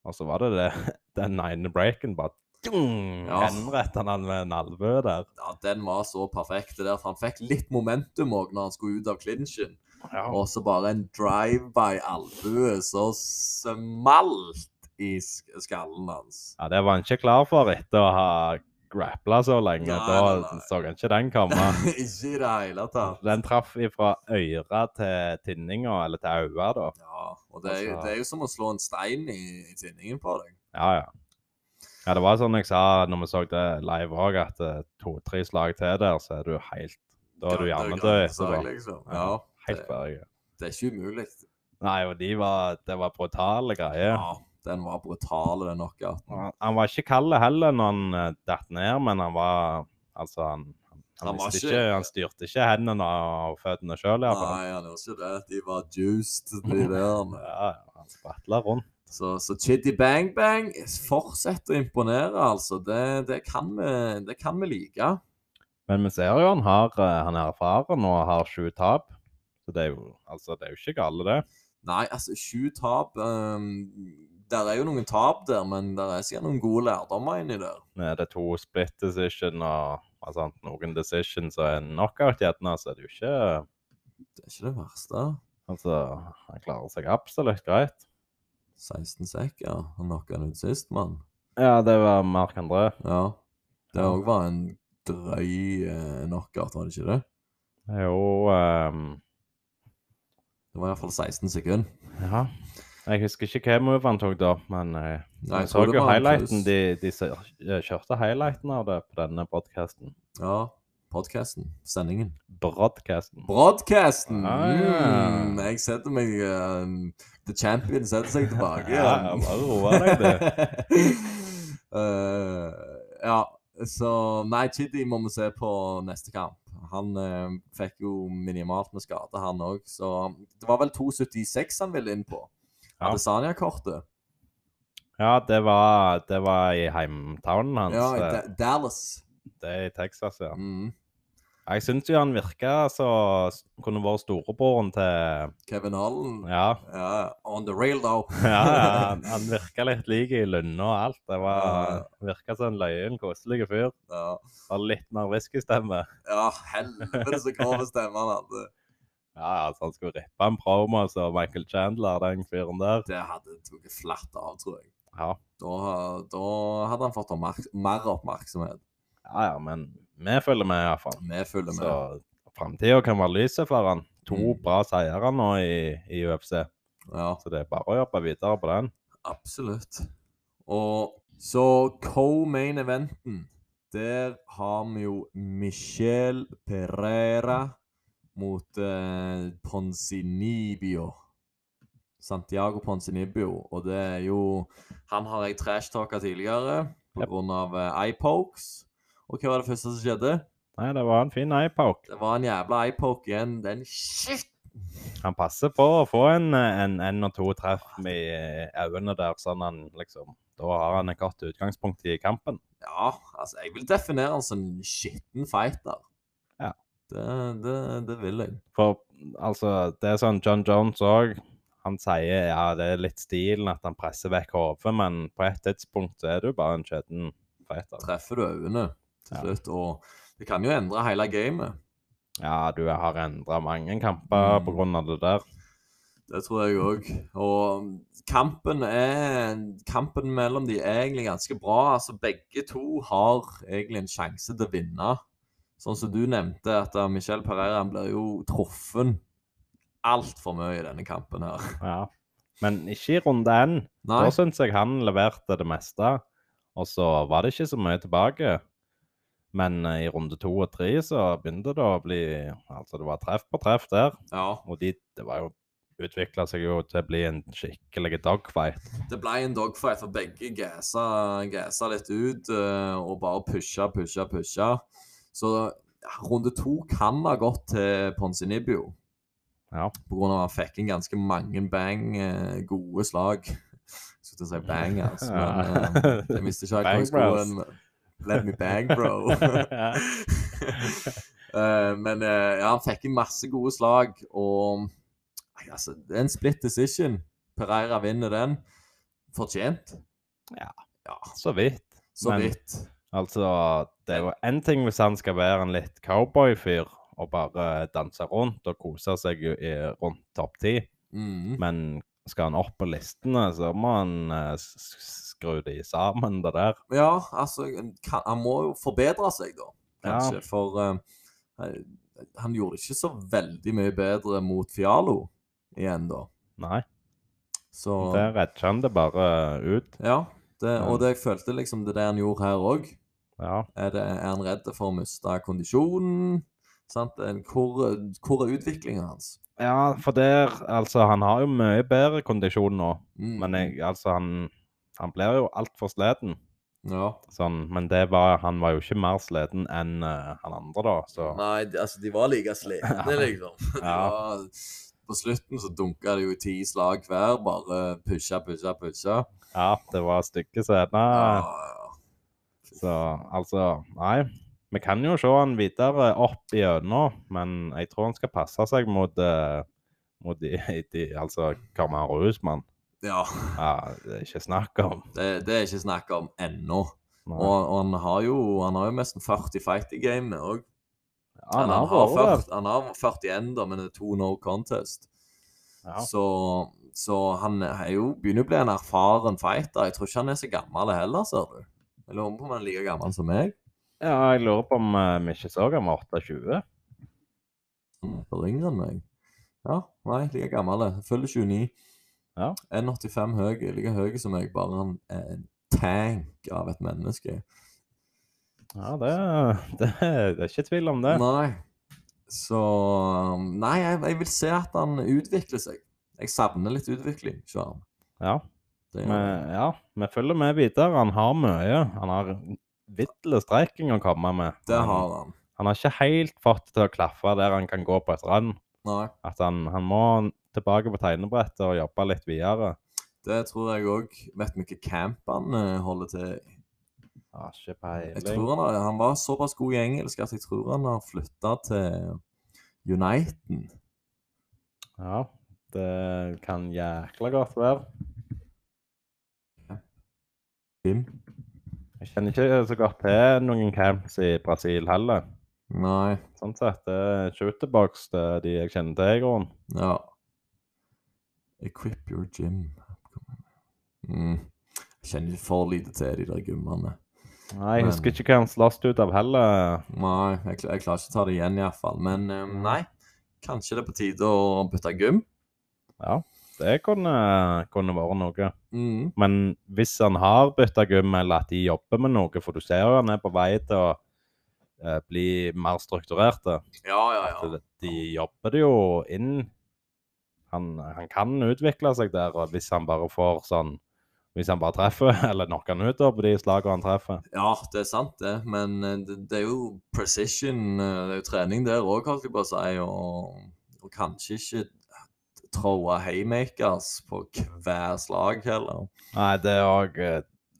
S1: Og så var det det, den ene breaken bare
S2: Ja.
S1: ja. Henrettet han han med en albue der.
S2: Ja, den var så perfekt. det der, for Han fikk litt momentum òg når han skulle ut av clinchen. Og så bare en drive-by-albue så smalt i sk- skallen hans.
S1: Ja, det var han ikke klar for etter å ha grappla så lenge.
S2: Nei,
S1: da
S2: nei, nei.
S1: så han ikke den komme.
S2: Ikke i det hele tatt.
S1: Den traff ifra øra til tinninga, eller til øya, da.
S2: Ja, og det er, jo,
S1: Altså-
S2: det er jo som å slå en stein i, i tinningen på deg.
S1: Ja, ja. Ja, Det var sånn jeg sa når vi så det live òg, at eh, to-tre slag til der, så er du helt Da er du
S2: Gatter-
S1: gjerne død
S2: gattesag,
S1: etterpå.
S2: Liksom. Ja,
S1: Ja, Helt
S2: det,
S1: ferdig.
S2: det er ikke umulig.
S1: Nei, og de var Det var brutale greier.
S2: Ja, den var brutal, den knockouten.
S1: Han han var ikke kald heller når han eh, datt ned, men han var Altså, han, han, han,
S2: Han var
S1: visste
S2: ikke-
S1: ikke, han styrte ikke hendene og føttene sjøl, iallfall.
S2: Nei, han gjorde ikke det. De var juiced, de der.
S1: Ja, ja, han spratla rundt.
S2: Så, så Chitty Bang Bang fortsetter å imponere, altså. Det, det, kan, vi, det kan vi like.
S1: Men vi ser jo han har eh, han er erfaren og har sju tap. Så det er jo altså, det er jo ikke gale, det.
S2: Nei, altså, sju tap ehm, Der er jo noen tap der, men der er sikkert noen gode lærdommer inni der.
S1: Når det er to split decision og og sånt, noen decisions og en knockout, gjerne, så er det jo ikke
S2: Det er ikke det verste.
S1: Altså, han klarer seg absolutt greit.
S2: 16 sek, ja. Han knocka han ut sist, mann.
S1: Ja, det var Mark André.
S2: Ja. Det
S1: Ja.
S2: òg var en drøy eh, knockout, var det ikke det?
S1: Det er Jo ehm,
S2: Det var iallfall 16 sekunder.
S1: Ja. Jeg husker ikke hva move han tok da, men eh,
S2: Nei,
S1: jeg
S2: jeg
S1: så
S2: tror det
S1: jo
S2: var en
S1: highlighten.
S2: kryss.
S1: De, de ser- eh, kjørte highlighten av det på denne podcasten.
S2: Ja. Podkasten. Sendingen.
S1: Broadcasten.
S2: Broadcasten!
S1: Ah, ja.
S2: Mm, jeg setter meg eh, The Champion setter seg tilbake.
S1: Ja, bare roe deg, du.
S2: Eh, ja, så Nei, Chidi må vi se på neste kamp. Han eh, fikk jo minimalt med skade, han òg, så Det var vel 2,76 han ville inn på.
S1: Ja.
S2: Adesanya-kortet.
S1: Ja, det var, det var i heimtownen hans.
S2: Ja, i
S1: eh,
S2: Da- Dallas.
S1: Det er i Texas, ja.
S2: Mm.
S1: Jeg syns jo han virka så s- kunne vært storebroren til
S2: Kevin Holland.
S1: Ja.
S2: Ja, on the rail, though.
S1: ja han- han virka litt lik i lønna og alt. Det var, virka som en løyen, koselig fyr.
S2: Ja,
S1: Var litt mer whiskystemme.
S2: ja helvete så grove stemmer han hadde.
S1: Ja, altså, han skulle rippe en promo som Michael Chandler, den fyren der.
S2: Det hadde tatt flatt av, tror jeg.
S1: Ja.
S2: Da, da hadde han fått oppmerk mer oppmerksomhet.
S1: ja, ja, men vi følger med, iallfall.
S2: Vi følger med.
S1: Så framtida kan være lyset for han. To
S2: Mm.
S1: bra seire nå i, i UFC,
S2: Ja,
S1: så det er bare å jobbe videre på den.
S2: absolutt. Og så co-main eventen, der har vi jo Michel Pereira mot eh, Ponzinibio. Santiago Ponzinibio. Og det er jo Han har jeg trash-talka tidligere
S1: Yep.
S2: pga. eh, eye eyepokes. Og hva var det første som skjedde?
S1: Nei, det var en fin eyepoke.
S2: Det var en jævla eyepoke igjen. Den shit!
S1: Han passer på å få en en, en og to treff med øynene der, sånn han liksom Da har han et godt utgangspunkt i kampen.
S2: Ja, altså, jeg vil definere han som en skitten fighter.
S1: Ja.
S2: Det, det, det vil jeg.
S1: For altså, det er sånn John Jones òg Han sier ja, det er litt stilen at han presser vekk hodet, men på et tidspunkt så er du bare en skjeden fighter.
S2: Treffer du øynene til
S1: Ja.
S2: slutt, og det kan jo endre hele gamet.
S1: Ja, du har endra mange kamper
S2: Mm.
S1: på grunn av det der.
S2: Det tror jeg òg. Og kampen er Kampen mellom de er egentlig ganske bra. Altså, begge to har egentlig en sjanse til å vinne. Sånn som du nevnte, at eh, Michel Pereira han blir jo truffen altfor mye i denne kampen her.
S1: Ja. Men ikke i runde én.
S2: Nei.
S1: Da syns jeg han leverte det meste, og så var det ikke så mye tilbake. Men eh, i runde to og tre så begynte det å bli Altså, det var treff på treff der,
S2: Ja.
S1: og de, det var jo Utvikla seg jo til å bli en skikkelig dogfight.
S2: Det ble en dogfight, for begge gasa, gasa litt ut eh, og bare pusha, pusha, pusha. Så ja, runde to kan ha gått til Ponzinibio.
S1: Ja.
S2: På grunn av at han fikk inn ganske mange bang, eh, gode slag. Jeg skulle til å si bang, altså. Men, eh, jeg visste ikke
S1: Bang
S2: helt hvor jeg skulle hen. Let me bang, bro. Eh, men eh, ja, han fikk inn masse gode slag, og nei, altså, det er en split decision. Pereira vinner den. Fortjent.
S1: Ja.
S2: Ja,
S1: Så vidt.
S2: Så
S1: Men-
S2: vidt.
S1: Altså, det er jo én ting hvis han skal være en litt cowboyfyr og bare danse rundt og kose seg i, i- rundt topp ti,
S2: Mhm.
S1: men skal han opp på listene, så må han eh, s- s- skru de sammen, det der.
S2: Ja, altså, en kan, han må jo forbedre seg, da, kanskje.
S1: Ja.
S2: For eh, han gjorde det ikke så veldig mye bedre mot Fialo igjen, da.
S1: Nei,
S2: Så
S1: der retter han det bare ut.
S2: Ja. Det,
S1: Ja.
S2: og det jeg følte liksom det er det han gjorde her òg.
S1: Ja.
S2: Er, det- er han redd for å miste kondisjonen? Sant? En- Hvor, hvor er utviklingen hans?
S1: ja, for der Altså, han har jo mye bedre kondisjon nå,
S2: Mm.
S1: men jeg, altså, han, han blir jo altfor sliten.
S2: Ja.
S1: Sånn, men det var, han var jo ikke mer sliten enn eh, han andre, da. Så
S2: Nei, de- altså, de var like slitne,
S1: Ja.
S2: liksom. De
S1: Ja.
S2: var, på slutten så dunka det jo ti slag hver. Bare pusha, pusha, pusha.
S1: ja, det var stygge scener.
S2: Ja,
S1: Så altså, nei. Vi kan jo se han videre opp igjennom, men jeg tror han skal passe seg mot, eh, mot de, de, altså Kamaru Usman.
S2: ja.
S1: Ja, det er ikke snakk om.
S2: Det, det er ikke snakk om ennå.
S1: Nei.
S2: Og, og han har jo han har jo nesten 40 fight i gamet òg.
S1: ja, han, har
S2: han, har
S1: vært
S2: 40, han har 41, da, men det er to no contest.
S1: der. Ja.
S2: Så, så han er jo, begynner å bli en erfaren fighter. Jeg tror ikke han er så gammel heller, ser du. Jeg lurer på om han er like gammel som meg.
S1: ja, jeg lurer på om eh, vi ikke så han var 28.
S2: Da ringer han meg. Ja, nei, like gammel. Jeg Følger 29.
S1: Ja.
S2: 1,85 høy. Like høy som meg, bare han er en tank av et menneske.
S1: Ja, det, det, det er ikke tvil om det.
S2: Nei. Så um, Nei, jeg, jeg vil se at han utvikler seg. Jeg savner litt utvikling, Sjøren.
S1: Ja,
S2: Det
S1: vi,
S2: gjør jeg.
S1: ja, vi følger med videre. Han har mye. Han har vidle streiking å komme med.
S2: Det
S1: Han-
S2: har han.
S1: Han har ikke helt fått det til å klaffe der han kan gå på et rand.
S2: Nei.
S1: At han, han må tilbake på tegnebrettet og jobbe litt videre.
S2: Det tror jeg òg. Vet vi hva camp han eh, holder til i?
S1: Har Ah, ikke
S2: Jeg
S1: peiling.
S2: tror han, har- han var såpass god i engelsk at jeg tror han har flytta til Uniten.
S1: Ja, det kan jækla godt være.
S2: Kim?
S1: Jeg kjenner ikke så godt til noen camps i Brasil heller.
S2: Nei.
S1: Sånn sett, det er shooterbox det er de jeg kjenner til i grunnen.
S2: Ja. Equip your gym. Mm. Jeg kjenner for lite til de der gymmene.
S1: Nei, jeg
S2: Men-
S1: husker ikke hva han sloss ut av heller.
S2: Nei, jeg, kla- jeg klarer ikke å ta det igjen iallfall. Men eh, nei, kanskje det er på tide å bytte gym.
S1: Ja, det kunne, kunne vært noe.
S2: Mm.
S1: Men hvis han har bytta gym, eller at de jobber med noe, for du ser jo han er på vei til å eh, bli mer strukturert. da.
S2: Ja, ja,
S1: At
S2: ja.
S1: det- De jobber det jo inn. Han, han kan utvikle seg der, og hvis han bare får sånn Hvis han bare treffer, eller knocker han ut da, på de slagene han treffer.
S2: Ja, det er sant, det. Men eh, det, det er jo precision. eh, Det er jo trening der òg, holdt jeg på å si. Og, og kanskje ikke troe haymakers på hver slag heller.
S1: Nei, det òg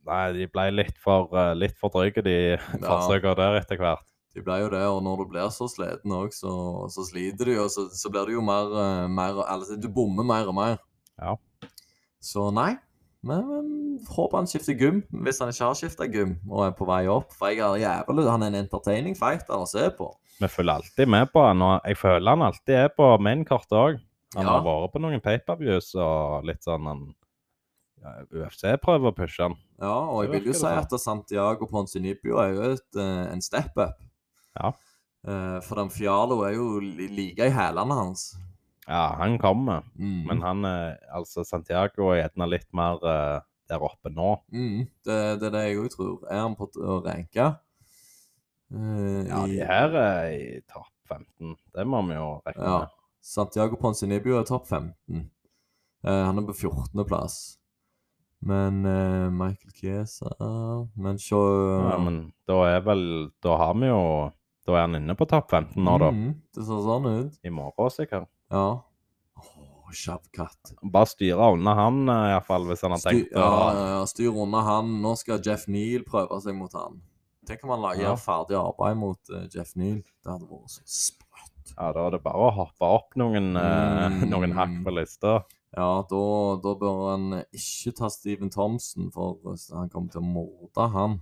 S1: Nei, de ble litt for, eh, litt for drøye, de forsøkene der etter hvert.
S2: De blir jo det, og når du blir så sliten òg, så, så sliter du, og så, så blir du jo mer, eh, mer Eller du bommer mer og mer.
S1: Ja.
S2: Så nei. Men, men håper han skifter gym, hvis han ikke har skifta gym og er på vei opp. For jeg har jævlig, han er en entertaining fighter å se på.
S1: Vi følger alltid med på han, og jeg føler han alltid er på mainkortet òg. Han
S2: Ja.
S1: har vært på noen paperviews og litt sånn han ja, UFC prøver å pushe han.
S2: Ja, og
S1: Det
S2: jeg vil jo
S1: virker
S2: si
S1: det
S2: at Santiago Ponzinibio er jo et, eh, en step up.
S1: Ja.
S2: Eh, for den Fialo er jo li- like i hælene hans.
S1: Ja, han kommer,
S2: Mm.
S1: men han er altså Santiago er gjerne litt mer eh, der oppe nå.
S2: mm, det, det er det jeg òg tror. Er han på t- å ranke? Eh,
S1: Ja, de
S2: i-
S1: her er i topp 15. Det må vi jo regne
S2: Ja.
S1: med.
S2: Santiago Ponzinibio er topp 15. Eh, han er på 14. plass. Men eh, Michael Chiesa Men se
S1: Ja, men da er vel Da har vi jo Da er han inne på topp 15 nå, da.
S2: Mm, det ser sånn ut.
S1: I morgen, sikkert.
S2: Ja. Åh, Shabkat.
S1: Bare styre unna han, eh, iallfall, hvis han har
S2: Styr,
S1: tenkt å
S2: ja, ja, ja, styr unna han. Nå skal Jeff Neal prøve seg mot han. Tenk om han lager
S1: Ja.
S2: ferdig arbeid mot eh, Jeff Neal. Det hadde vært så sprøtt.
S1: Ja, da er det bare å hoppe opp noen, eh,
S2: Mm.
S1: noen hakk på lista.
S2: Ja, da, da bør han ikke ta Steven Thompson, for han kommer til å morde han.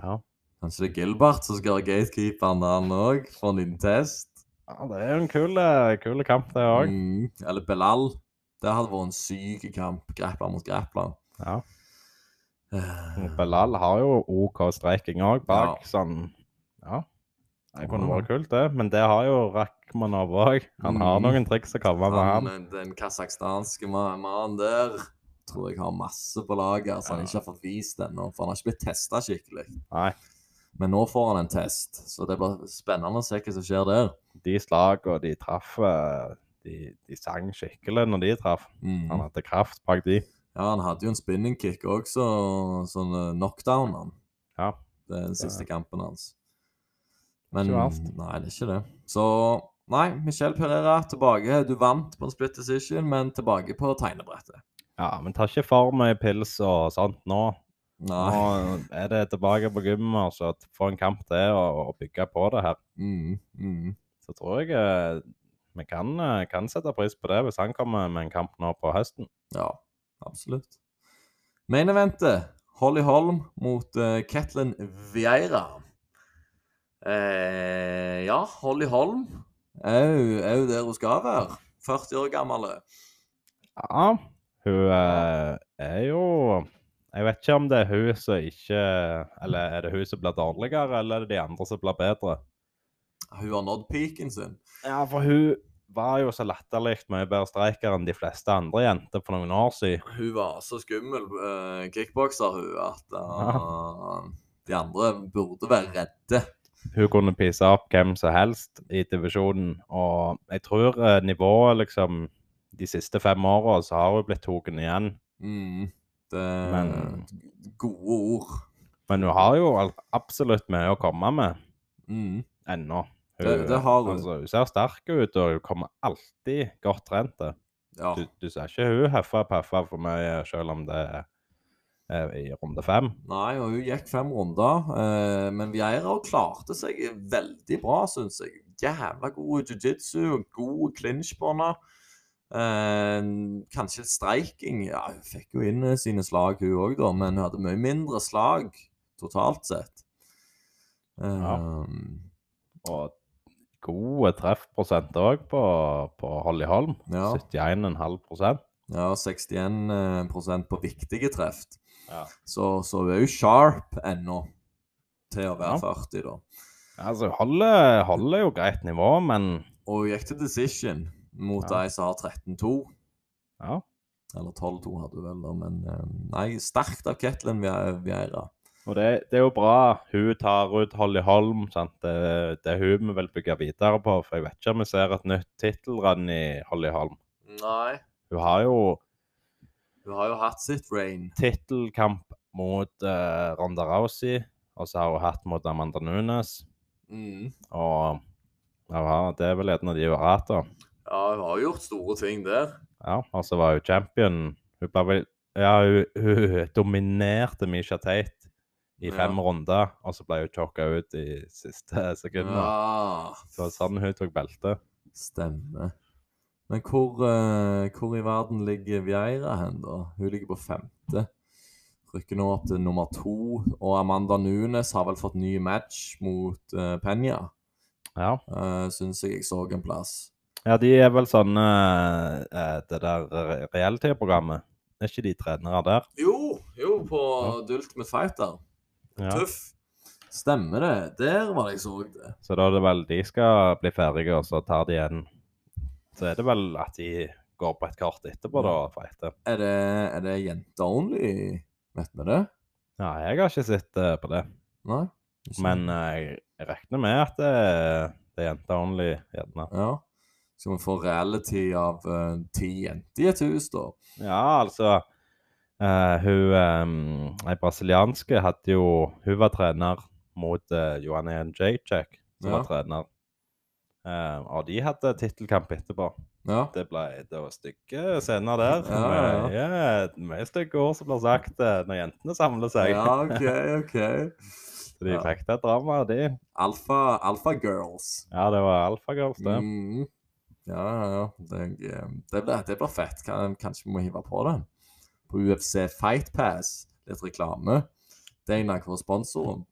S1: Ja.
S2: Kanskje det er Gilbert som skal være gatekeeperen der han òg, for en liten test.
S1: det er jo en kul, eh, kul kamp, det òg.
S2: Mm. Eller Belal. Det hadde vært en syk kamp, grappler mot grappler.
S1: Ja.
S2: Eh,
S1: Belal har jo OK streiking òg bak,
S2: Ja.
S1: sånn Ja. Det kunne
S2: Ja.
S1: vært kult, det. Men det har jo Rakhmanov òg. Han har
S2: Mm.
S1: noen triks å komme med,
S2: Han,
S1: han.
S2: eh, den kasakhstanske ma- mannen der tror jeg har masse på lager som han
S1: Ja.
S2: ikke har fått vist ennå. For han har ikke blitt testa skikkelig.
S1: Nei.
S2: Men nå får han en test, så det blir spennende å se hva som skjer der.
S1: De slagene de traff eh, de, de sang skikkelig når de traff.
S2: Mm.
S1: Han hadde kraft bak de.
S2: Ja, han hadde jo en spinning kick òg, så sånn eh, knockdown han.
S1: Ja.
S2: den siste kampen hans. Men
S1: Ikke verst.
S2: nei, det er ikke det. Så nei, Michel Pereira tilbake. Du vant på en split decision, men tilbake på tegnebrettet.
S1: ja, men tar ikke for mye pils og sånt nå.
S2: Nei.
S1: Nå er det tilbake på gymmet, og så få en kamp til og, og bygge på det her.
S2: Mm, mm.
S1: Så tror jeg eh, vi kan, eh, kan sette pris på det hvis han kommer med en kamp nå på høsten.
S2: Ja, absolutt. Main eventet. Holly Holm mot eh, Ketlin Vieira. Eh, ja, Holly Holm er jo- er jo der hun skal være. 40 år gammel. eh.
S1: Ja, hun eh, er jo Jeg vet ikke om det er hun som ikke Eller er det hun som blir dårligere, eller er det de andre som blir bedre?
S2: Hun har nådd peaken sin.
S1: Ja, for hun var jo så latterlig mye bedre streiker enn de fleste andre jenter for noen år siden.
S2: Hun var så skummel eh, kickbokser, hun, at eh, de andre burde være redde.
S1: Hun kunne pisse opp hvem som helst i divisjonen, og jeg tror eh, nivået liksom de siste fem åra så har hun blitt tatt igjen.
S2: Mm. Det er
S1: Men-
S2: gode ord.
S1: Men hun har jo al- absolutt mye å komme med
S2: Mm.
S1: ennå.
S2: Det- det har hun.
S1: Altså, hun ser sterk ut, og hun kommer alltid godt trent.
S2: Ja.
S1: Du, du ser ikke hun heffa og peffa for mye, selv om det er i runde fem.
S2: Nei, og hun gikk fem runder. Eh, men Vieira klarte seg veldig bra, syns jeg. Jævla god jiu-jitsu og god clinch på henne. Eh, kanskje streiking. Ja, hun fikk jo inn eh, sine slag, hun òg, da. Men hun hadde mye mindre slag totalt sett. Eh,
S1: Ja. Og gode treffprosent òg på, på Holly Holm.
S2: Ja.
S1: 71,5
S2: Ja, 61 prosent på viktige treff.
S1: Ja.
S2: Så, så hun er jo sharp ennå til å være
S1: Ja.
S2: 40, da.
S1: Altså, holder, holder jo greit nivå, men
S2: Og hun gikk til decision mot
S1: Ja.
S2: de som har 13-2.
S1: ja.
S2: Eller 12-2 hadde hun vel, da, men eh, Nei, sterkt av Ketlin Vie- Vieira.
S1: Og det, det er jo bra. Hun tar ut Holly Holm. sant? Det, det er hun vi vil bygge videre på. For jeg vet ikke om vi ser et nytt tittelrenn i Holly Holm.
S2: Nei.
S1: Hun har jo
S2: Hun har jo hatt sitt rain.
S1: tittelkamp mot eh, Ronda Rousey, og så har hun hatt mot Amanda Nunes.
S2: Mm.
S1: Og ja, ja, det er vel en av de hun har hatt, da.
S2: Ja, hun har gjort store ting der.
S1: Ja, og så var hun champion. Hun bare vil Ja, hun, hun dominerte Misha Tate i fem
S2: Ja.
S1: runder, og så ble hun chokka ut i siste sekundene.
S2: Ja,
S1: Så det var sånn hun tok beltet.
S2: stemmer. Men hvor, eh, hvor i verden ligger Vieira hen, da? Hun ligger på femte. Rykker nå opp til nummer to. Og Amanda Nunes har vel fått ny match mot uh, Penya,
S1: Ja.
S2: uh, syns jeg jeg så en plass.
S1: Ja, de er vel sånne eh, Det der re- reality-programmet. Er ikke de trenere der?
S2: Jo, jo, på The Ultimate Fighter. Tøff. Stemmer det. Der var det jeg så det.
S1: Så da er det vel de skal bli ferdige, og så tar de en Så er det vel at de går på et kart etterpå, da, og fighter.
S2: Er det, er det jenter only? Vet vi det?
S1: Ja, jeg har ikke sett eh, på det.
S2: Nei? Ikke.
S1: Men eh, jeg regner med at det, det er jenter only, gjerne.
S2: Ja. Skal vi få reality av eh, ti jenter i et hus, da?
S1: Ja, altså eh, Hun eh, ei brasilianske hadde jo Hun var trener mot eh, Johanne Jacek, som
S2: Ja.
S1: var trener. Eh, og de hadde tittelkamp etterpå.
S2: Ja.
S1: Det ble det var stygge scener der.
S2: Ja, ja,
S1: Mye, mye stygge ord som blir sagt eh, når jentene samler seg.
S2: Ja, OK, OK.
S1: Så de
S2: Ja.
S1: fikk det drama, de.
S2: Alfa, alfa girls.
S1: Ja, det var alfagirls, det.
S2: Mm. Ja, ja, ja. Det, eh, det, blir, det blir fett. Kan, kanskje vi må hive på det. På UFC Fight Pass. Litt reklame. Dana hver sponsoren.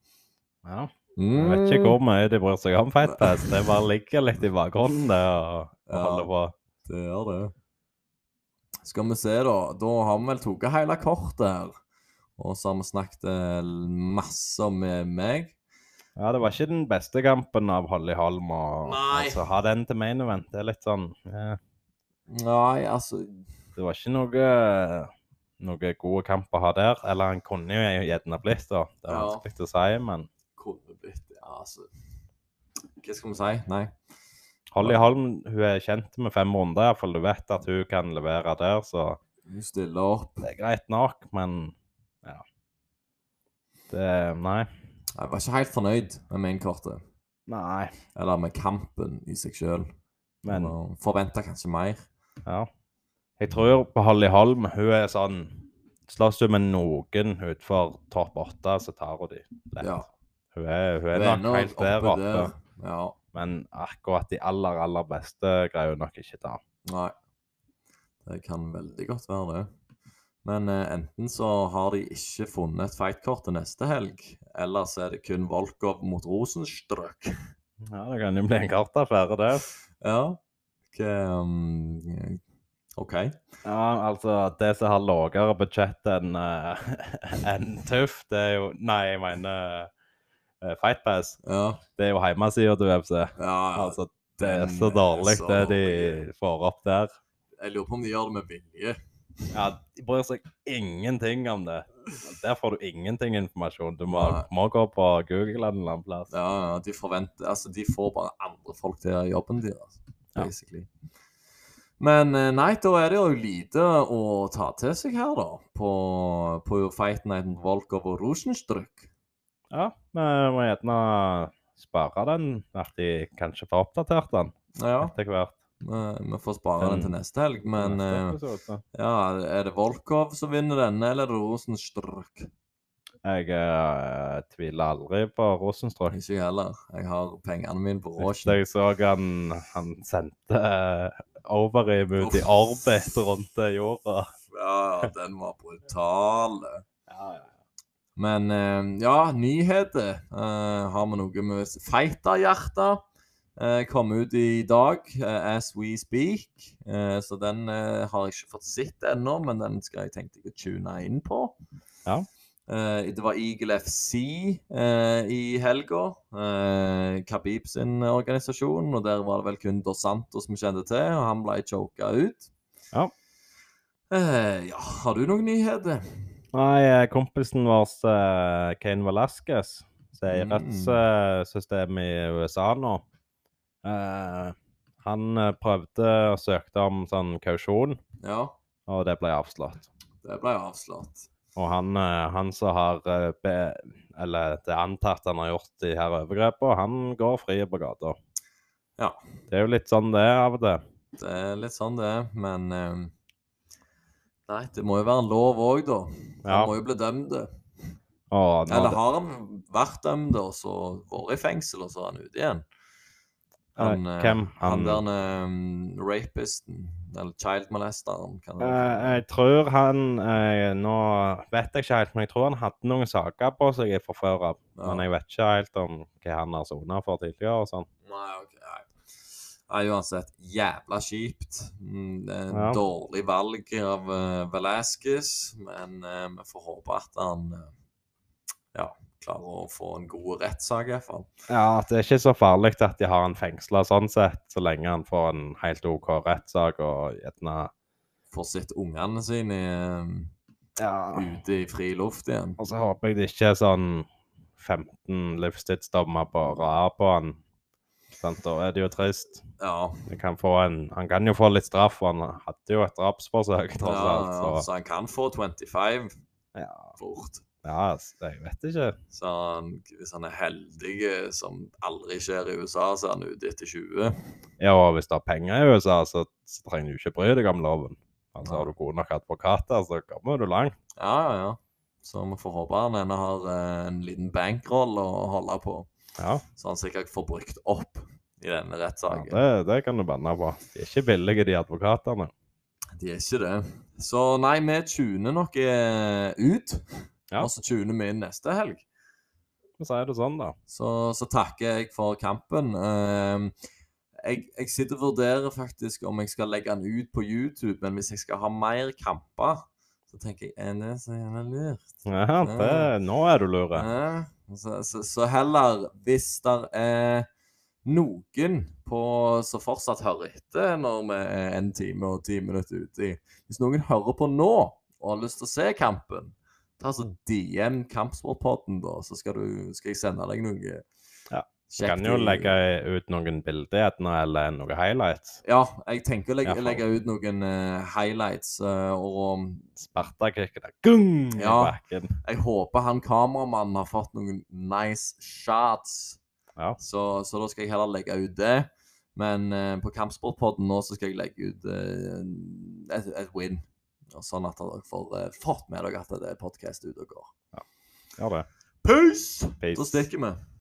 S1: Ja.
S2: Mm.
S1: Jeg vet ikke hvor mye de bryr seg om Fight Pass. Det bare ligger litt i bakgrunnen det, og, og
S2: Ja.
S1: holder på.
S2: Det gjør det. Skal vi se, da. Da har vi vel tatt hele kortet her. Og så har vi snakket eh, masse om eh, meg.
S1: Ja, det var ikke den beste kampen av Holly Holm. Og,
S2: Nei.
S1: altså, ha den til main event. Det er litt sånn eh,
S2: Nei, altså
S1: Det var ikke noe noe gode kamp å ha der. Eller han kunne jo gjerne blitt, da. Det er
S2: Ja.
S1: vanskelig å si, men
S2: Kunne blitt ja, altså. Hva skal vi si? Nei.
S1: Holly Holm hun er kjent med fem runder, iallfall du vet at hun kan levere der, så
S2: Hun stiller opp.
S1: det er greit nok, men ja. Det Nei.
S2: Jeg var ikke helt fornøyd med mainkortet.
S1: Nei.
S2: Eller med kampen i seg sjøl.
S1: Men
S2: Forventa kanskje mer.
S1: ja. Jeg tror på Holly Holm hun er sånn Slåss hun med noen utenfor topp åtte, så tar hun de lett.
S2: Ja.
S1: Hun er, hun er
S2: Hun er
S1: nok
S2: ennå
S1: helt der oppe,
S2: Ja.
S1: men akkurat de aller, aller beste greier hun nok ikke ta.
S2: Nei. Det kan veldig godt være det. Men eh, enten så har de ikke funnet et fightkort til neste helg, eller så er det kun Volkov mot Rosenstrøk.
S1: Ja, det kan jo bli en kartaffære, det.
S2: Ja. Ok, um, OK.
S1: Ja, altså, det som har lavere budsjett enn eh, enn Tuff, det er jo Nei, jeg mener eh, Fight Pass.
S2: Ja.
S1: Det er jo hjemmesida til UFC.
S2: ja
S1: Altså,
S2: altså,
S1: det er
S2: den
S1: så
S2: er
S1: dårlig,
S2: så
S1: det de
S2: dårlig.
S1: får opp der.
S2: jeg lurer på om de gjør det med vilje.
S1: Ja, De bryr seg ingenting om det. Der får du ingenting informasjon. Du må,
S2: Nei.
S1: må gå på Google en eller annen plass.
S2: Ja, ja, de forventer Altså, de får bare andre folk til å gjøre jobben deres,
S1: Ja.
S2: basically. Men eh, nei, da er det jo lite å ta til seg her, da. På, på Fight Night med Volkov og Rosenstrøk.
S1: Ja, vi må gjerne spare den, at de kanskje får oppdatert den
S2: Ja,
S1: etter hvert.
S2: Eh, Vi får spare den til neste helg, men
S1: Neste altså.
S2: eh,
S1: episode.
S2: ja, er det Volkov som vinner denne, eller er det Rosenstrøk?
S1: Jeg eh, tviler aldri på Rosenstrøk.
S2: Ikke jeg heller. Jeg har pengene mine på Råsjen.
S1: Jeg så han, han sendte eh, Overeem ut i
S2: Uff.
S1: orbit rundt eh, jorda.
S2: Ja, den var brutal.
S1: Ja, ja.
S2: Men eh, ja, nyheter. Eh, har vi noe med fighterhjertet? Uh, kom ut i dag, eh, as we speak. Eh, så den eh, har jeg ikke fått sett ennå, men den skal jeg tenke å tune inn på.
S1: Ja.
S2: Eh, det var Eagle FC eh, i helga. eh, Khabib sin organisasjon. Og der var det vel kun Dos Santos vi kjente til, og han ble choka ut.
S1: Ja.
S2: Eh, ja, har du noen nyheter?
S1: Nei, eh, kompisen vår, eh, Kane Velasquez, som er i
S2: Mm.
S1: rettssystemet i USA nå eh, Han eh, prøvde og søkte om sånn kausjon,
S2: Ja.
S1: og det ble avslått.
S2: Det ble avslått.
S1: Og han, eh, han som har eh, be, Eller det er antatt han har gjort de her overgrepene, han går fri på gata.
S2: Ja.
S1: Det er jo litt sånn det er av og til.
S2: Det er litt sånn det er, men eh, Nei, det må jo være en lov òg, da. Han
S1: Ja.
S2: må jo bli dømt.
S1: Og nå,
S2: Eller har han vært dømt og så vært i fengsel, og så er han ute igjen? Han,
S1: eh,
S2: eh,
S1: hvem? Han,
S2: Han der eh, rapisten, eller child molesteren, kan det
S1: Eh, jeg tror han eh, Nå vet jeg ikke helt, men jeg tror han hadde noen saker på seg fra før av.
S2: Ja.
S1: Men jeg vet ikke helt om hva han har sona for tidligere og sånn.
S2: Nei, ok, nei. Nei, uansett, jævla kjipt. Mm, det er en
S1: Ja.
S2: Dårlig valg av uh, Velasquez, men eh, vi får håpe at han eh, ja, klarer å få en god rettssak, iallfall.
S1: Ja, at det er ikke så farlig at de har han fengsla sånn sett, så lenge han får en helt OK rettssak og gjerne
S2: Får sett ungene sine eh,
S1: ja.
S2: ute i fri luft igjen.
S1: Og så håper jeg det ikke er sånn 15 livstidsdommer på rad på han. Sant, da er det jo trist.
S2: Ja,
S1: Det Kan få en, han kan jo få litt straff, for han hadde jo et drapsforsøk,
S2: ja, altså.
S1: tross alt. Så
S2: så han kan få 25
S1: ja.
S2: fort.
S1: Ja, altså, jeg vet ikke.
S2: Så han, hvis han er heldig, eh, som aldri skjer i USA, så er han ute etter 20.
S1: Ja, og hvis det er penger i USA, så, så trenger du ikke bry deg om loven. Altså,
S2: Nei.
S1: Har du gode nok advokater, så kommer du langt.
S2: Ja, ja, ja. Så vi får håpe han ennå har eh, en liten bankroll å holde på,
S1: Ja,
S2: så han sikkert får brukt opp i denne
S1: ja
S2: rettssaken.
S1: det, det kan du banne på. De er ikke billige, de advokatene.
S2: De er ikke det. Så nei, vi tuner nok eh, ut,
S1: Ja.
S2: og så tuner vi inn neste helg.
S1: Så sier det sånn, da.
S2: Så, så takker jeg for kampen. Ehm, jeg, jeg sitter og vurderer faktisk om jeg skal legge den ut på YouTube, men hvis jeg skal ha mer kamper, så tenker jeg er det så jævla lurt?
S1: Ja, det,
S2: Mm.
S1: nå er du lure.
S2: Ja, Så, så, så heller, hvis der er noen på, som fortsatt hører etter når vi er en time og ti minutter ute i Hvis noen hører på nå og har lyst til å se kampen, ta så DM Kampsportpodden, da, så skal, du, skal jeg sende deg noe.
S1: Ja,
S2: Sjekk
S1: Du kan jo
S2: de-
S1: legge ut noen bilder gjerne, eller noen highlights.
S2: Ja, jeg tenker å legge,
S1: Ja, faen.
S2: legge ut noen eh, highlights. eh, og
S1: Spartakick der. Gung!
S2: Ja.
S1: I bakken.
S2: jeg håper han kameramannen har fått noen nice shots.
S1: Ja.
S2: Så, så da skal jeg heller legge ut det. Men eh, på Kampsportpodden nå så skal jeg legge ut eh, et, et win. Og sånn at dere får eh, fått med dere at det er podkast ute og går.
S1: Gjør det.
S2: Peace! Da
S1: Peace.
S2: stikker vi.